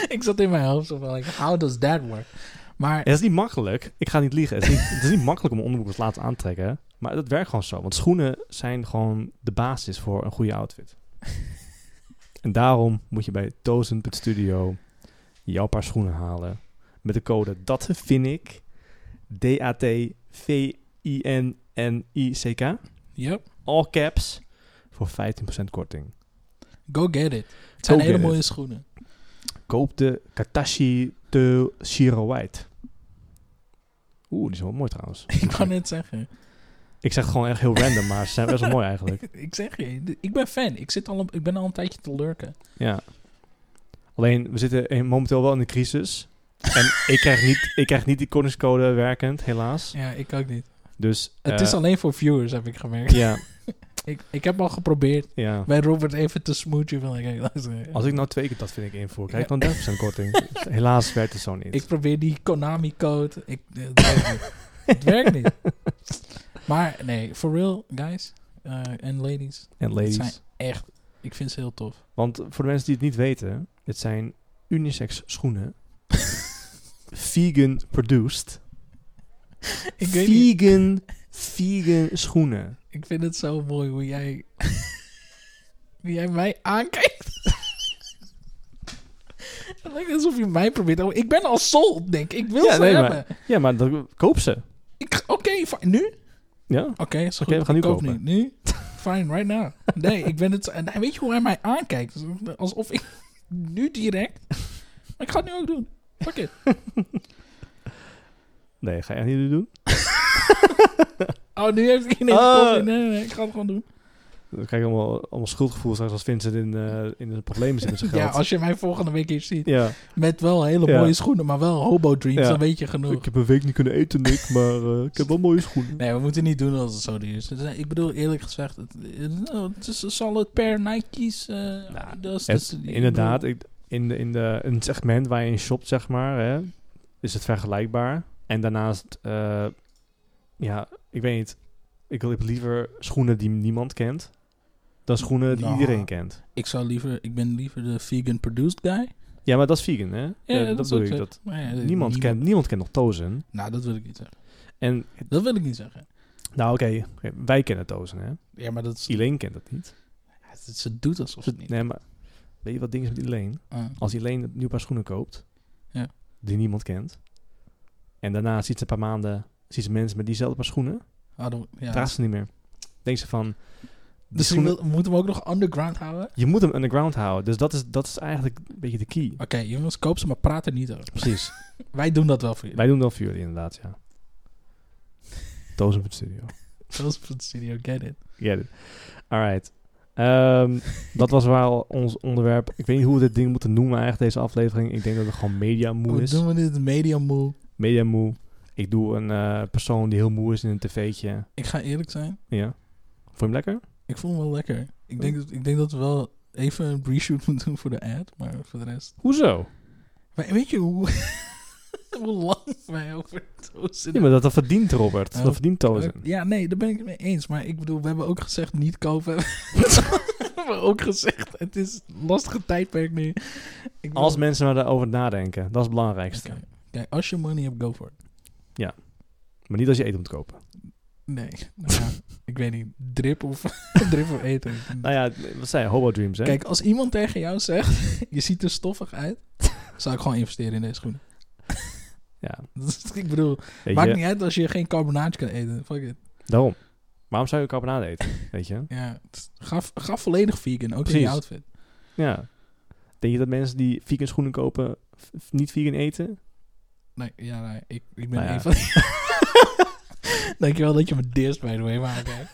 [SPEAKER 2] ik zat in mijn hoofd zo van, like, how does that work? Maar
[SPEAKER 1] Het is niet makkelijk. Ik ga niet liegen. Het is niet, het is niet makkelijk om een onderbroek als laatste aan te trekken. Maar dat werkt gewoon zo. Want schoenen zijn gewoon de basis voor een goede outfit. en daarom moet je bij Dozen.studio jouw paar schoenen halen. Met de code dat vind ik. D-A-T-V-I-N-N-I-C-K.
[SPEAKER 2] yep.
[SPEAKER 1] All caps. Voor 15% korting.
[SPEAKER 2] Go get it. Het zijn
[SPEAKER 1] Go
[SPEAKER 2] hele
[SPEAKER 1] get
[SPEAKER 2] mooie
[SPEAKER 1] it.
[SPEAKER 2] schoenen.
[SPEAKER 1] Koop de Katashi de Shiro White. Oeh, die is wel mooi trouwens.
[SPEAKER 2] Ik kan het zeggen.
[SPEAKER 1] Ik zeg het gewoon echt heel random, maar ze zijn best wel mooi eigenlijk.
[SPEAKER 2] Ik zeg je, d- ik ben fan. Ik, zit al, een- ik ben al een tijdje te lurken.
[SPEAKER 1] Ja. Alleen, we zitten in- momenteel wel in de crisis. En ik krijg niet, ik krijg niet die kortingscode werkend, helaas.
[SPEAKER 2] Ja, ik ook niet.
[SPEAKER 1] Dus...
[SPEAKER 2] Het
[SPEAKER 1] eh,
[SPEAKER 2] is alleen voor viewers, heb ik gemerkt.
[SPEAKER 1] Ja,
[SPEAKER 2] Ik, ik heb al geprobeerd
[SPEAKER 1] ja.
[SPEAKER 2] bij Robert even te smoochen. Van, kijk, luister,
[SPEAKER 1] Als ik nou twee keer dat vind ik invoer, krijg ik dan 30% korting. Helaas werkt het zo niet.
[SPEAKER 2] ik probeer die Konami-code. Ik- eh, Het werkt niet. Het werkt niet. Maar nee, for real, guys eh, en ladies.
[SPEAKER 1] en ladies.
[SPEAKER 2] zijn- Echt, ik vind ze heel tof.
[SPEAKER 1] Want voor de mensen die het niet weten, het zijn unisex schoenen. vegan produced.
[SPEAKER 2] Ik, weet niet,
[SPEAKER 1] vegan, vegan schoenen.
[SPEAKER 2] ik vind het zo mooi hoe jij, hoe jij mij aankijkt. Het lijkt alsof je mij probeert. Oh, ik ben al sold, denk ik. Ik wil
[SPEAKER 1] Ja,
[SPEAKER 2] ze
[SPEAKER 1] nee, maar-
[SPEAKER 2] hebben.
[SPEAKER 1] Ja, maar dan, koop ze.
[SPEAKER 2] Ik- Oké, fi- nu? Oké,
[SPEAKER 1] Ja,
[SPEAKER 2] is goed.
[SPEAKER 1] Oké, we gaan nu
[SPEAKER 2] Ik koop
[SPEAKER 1] kopen.
[SPEAKER 2] Nu. nu? Fine, right now. Nee, ik ben het... En hij- weet je hoe hij mij aankijkt? Alsof ik nu direct... Maar ik ga het nu ook doen. Fuck it.
[SPEAKER 1] nee, ga je echt niet doen.
[SPEAKER 2] Oh, nu heeft hij ineens...
[SPEAKER 1] Ah.
[SPEAKER 2] koffie. Nee, nee, nee, ik ga het gewoon doen.
[SPEAKER 1] Dan krijg je allemaal, allemaal schuldgevoel straks als Vincent in, eh in de problemen zit met zijn
[SPEAKER 2] Ja,
[SPEAKER 1] geld.
[SPEAKER 2] als je mij volgende week hier ziet.
[SPEAKER 1] Ja,
[SPEAKER 2] Met wel hele
[SPEAKER 1] Ja.
[SPEAKER 2] mooie schoenen, maar wel hobo dreams.
[SPEAKER 1] Ja.
[SPEAKER 2] Dan weet je genoeg.
[SPEAKER 1] ik heb een week niet kunnen eten, Nick, maar eh, ik heb wel mooie schoenen.
[SPEAKER 2] Nee, we moeten niet doen als het zo duur is. Het is- Ik bedoel, eerlijk gezegd, het, het- nou, het is een solid pair Nike's. eh, Adidas,
[SPEAKER 1] Nou, het-
[SPEAKER 2] dus- ik bedoel-
[SPEAKER 1] Inderdaad, ik, in, de, in, de, in het segment waar je in shopt, zeg maar, hè, is het vergelijkbaar. En daarnaast, eh, ja, ik weet niet, ik heb liever schoenen die niemand kent, dan schoenen die
[SPEAKER 2] Nou.
[SPEAKER 1] iedereen kent.
[SPEAKER 2] Ik zou liever, ik ben liever de vegan produced guy.
[SPEAKER 1] Ja, maar dat is vegan, hè? Eh,
[SPEAKER 2] Ja,
[SPEAKER 1] dat
[SPEAKER 2] dat is
[SPEAKER 1] bedoel
[SPEAKER 2] ook
[SPEAKER 1] ik.
[SPEAKER 2] zo.
[SPEAKER 1] Dat
[SPEAKER 2] Maar ja,
[SPEAKER 1] niemand,
[SPEAKER 2] niemand-
[SPEAKER 1] Kent, niemand kent nog Tozen.
[SPEAKER 2] Nou, dat wil ik niet zeggen.
[SPEAKER 1] En,
[SPEAKER 2] Dat wil ik niet zeggen.
[SPEAKER 1] nou oké, oké, wij kennen Tozen, hè?
[SPEAKER 2] Ja, maar dat is,
[SPEAKER 1] Elaine kent dat niet.
[SPEAKER 2] het- ze doet alsof het niet.
[SPEAKER 1] Nee, maar weet je wat ding is met Elaine?
[SPEAKER 2] Ah.
[SPEAKER 1] Als Elaine een nieuw paar schoenen koopt,
[SPEAKER 2] Ja.
[SPEAKER 1] die niemand kent, en daarna ziet ze een paar maanden ziet ze mensen met diezelfde paar schoenen,
[SPEAKER 2] Ah, dan- ja,
[SPEAKER 1] draagt ze niet meer. Denkt ze van, die
[SPEAKER 2] Dus je
[SPEAKER 1] schoenen-
[SPEAKER 2] wil- moet hem ook nog underground houden? Oké,
[SPEAKER 1] je moet hem underground houden. Dus dat is, dat is eigenlijk een beetje de key.
[SPEAKER 2] jongens, koop ze, maar praat er niet over.
[SPEAKER 1] Precies.
[SPEAKER 2] Wij doen dat wel voor jullie.
[SPEAKER 1] Wij doen dat voor jullie inderdaad, ja. Dozen van studio.
[SPEAKER 2] Zelfs voor de studio, get it.
[SPEAKER 1] Get it. Alright. Ehm, dat was wel ons onderwerp. Ik weet niet hoe we dit ding moeten noemen eigenlijk, deze aflevering. Ik denk dat het gewoon media moe
[SPEAKER 2] Hoe
[SPEAKER 1] is.
[SPEAKER 2] doen we dit? Media moe.
[SPEAKER 1] Media moe. Ik doe een eh, persoon die heel moe is in een tv'tje.
[SPEAKER 2] Ik ga eerlijk zijn.
[SPEAKER 1] Ja. Vond je hem lekker?
[SPEAKER 2] Ik voel me wel lekker. Ik
[SPEAKER 1] Oh.
[SPEAKER 2] denk, dat, ik denk dat we wel even een reshoot moeten doen voor de ad. Maar voor de rest...
[SPEAKER 1] Hoezo?
[SPEAKER 2] Maar weet je hoe, hoe lang wij over het dozen
[SPEAKER 1] Ja, maar dat, dat verdient Robert.
[SPEAKER 2] Oh.
[SPEAKER 1] Dat verdient Tozen.
[SPEAKER 2] Ja, nee, daar ben ik het mee eens. Maar ik bedoel, we hebben ook gezegd niet kopen. we hebben ook gezegd, het is een lastige tijdperk nu. Ik
[SPEAKER 1] Als
[SPEAKER 2] bedoel-
[SPEAKER 1] mensen maar daarover nadenken, dat is het belangrijkste.
[SPEAKER 2] Oké. Kijk, als je money hebt, go for it.
[SPEAKER 1] Maar niet als je eten moet kopen.
[SPEAKER 2] Nee, nou ja, ik weet niet, drip of, drip of eten.
[SPEAKER 1] Nou ja, wat zei je? Hobo Dreams, hè?
[SPEAKER 2] Kijk, als iemand tegen jou zegt, je ziet er stoffig uit, zou ik gewoon investeren in deze schoenen.
[SPEAKER 1] Ja.
[SPEAKER 2] Dat is- ik bedoel,
[SPEAKER 1] Weet
[SPEAKER 2] maakt
[SPEAKER 1] je,
[SPEAKER 2] niet uit als je geen carbonaatje kan eten. Fuck it.
[SPEAKER 1] Daarom. Waarom zou je carbonade eten? Weet je?
[SPEAKER 2] Ja, het is- ga, ga volledig vegan, ook in
[SPEAKER 1] Precies.
[SPEAKER 2] je outfit.
[SPEAKER 1] Ja. Denk je dat mensen die vegan schoenen kopen f- f- niet vegan eten?
[SPEAKER 2] Nee, ja, nee, ik, ik ben
[SPEAKER 1] Nou ja.
[SPEAKER 2] een van die... Dankjewel dat je me deerst, by the way, maar oké.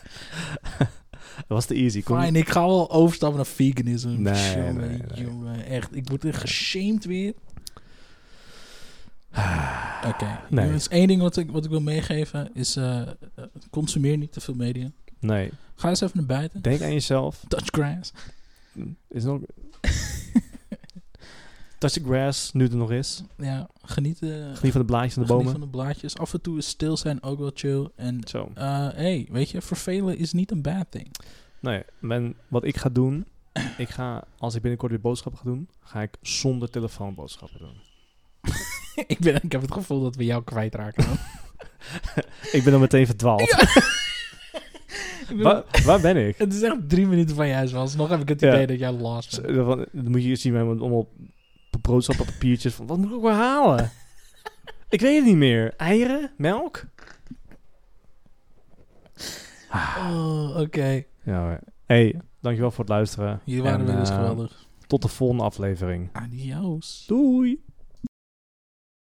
[SPEAKER 1] Dat was te easy. Kom-
[SPEAKER 2] Fine, ik ga wel overstappen naar veganisme.
[SPEAKER 1] Nee,
[SPEAKER 2] jongen,
[SPEAKER 1] nee, nee.
[SPEAKER 2] jongen, echt. Ik word er geshamed weer. Oké.
[SPEAKER 1] Nee.
[SPEAKER 2] jongens, één ding wat ik, wat ik wil meegeven is... eh, eh, consumeer niet te veel media.
[SPEAKER 1] Nee.
[SPEAKER 2] Ga eens even naar buiten.
[SPEAKER 1] Denk aan jezelf.
[SPEAKER 2] Touch grass.
[SPEAKER 1] Is er nog... Touch the grass, nu het er nog is.
[SPEAKER 2] Ja, geniet, eh,
[SPEAKER 1] Geniet van de blaadjes van de
[SPEAKER 2] geniet
[SPEAKER 1] bomen.
[SPEAKER 2] van de blaadjes. Af en toe is stil zijn ook wel chill. En
[SPEAKER 1] Zo.
[SPEAKER 2] eh hey, weet je, vervelen is niet een bad thing.
[SPEAKER 1] Nee, men, wat ik ga doen... Ik ga, als ik binnenkort weer boodschappen ga doen... ga ik zonder telefoon boodschappen doen.
[SPEAKER 2] ik, ben, ik heb het gevoel dat we jou kwijtraken. man.
[SPEAKER 1] Ik ben dan meteen verdwaald.
[SPEAKER 2] Ik bedoel,
[SPEAKER 1] Waar, waar ben ik?
[SPEAKER 2] Het is echt drie minuten van juist, was. Nog heb ik het
[SPEAKER 1] Ja.
[SPEAKER 2] idee dat jij lost bent.
[SPEAKER 1] Zo, van, eh, Dan moet je zien mij met allemaal p- boodschappen, papiertjes. Van, wat moet ik ook weer halen? ik weet het niet meer. Eieren? Melk?
[SPEAKER 2] Oh, oké.
[SPEAKER 1] Ja hoor. Hey, dankjewel voor het luisteren.
[SPEAKER 2] Jullie waren
[SPEAKER 1] En,
[SPEAKER 2] weer eens
[SPEAKER 1] eh,
[SPEAKER 2] geweldig.
[SPEAKER 1] Tot de volgende aflevering.
[SPEAKER 2] Adios.
[SPEAKER 1] Doei!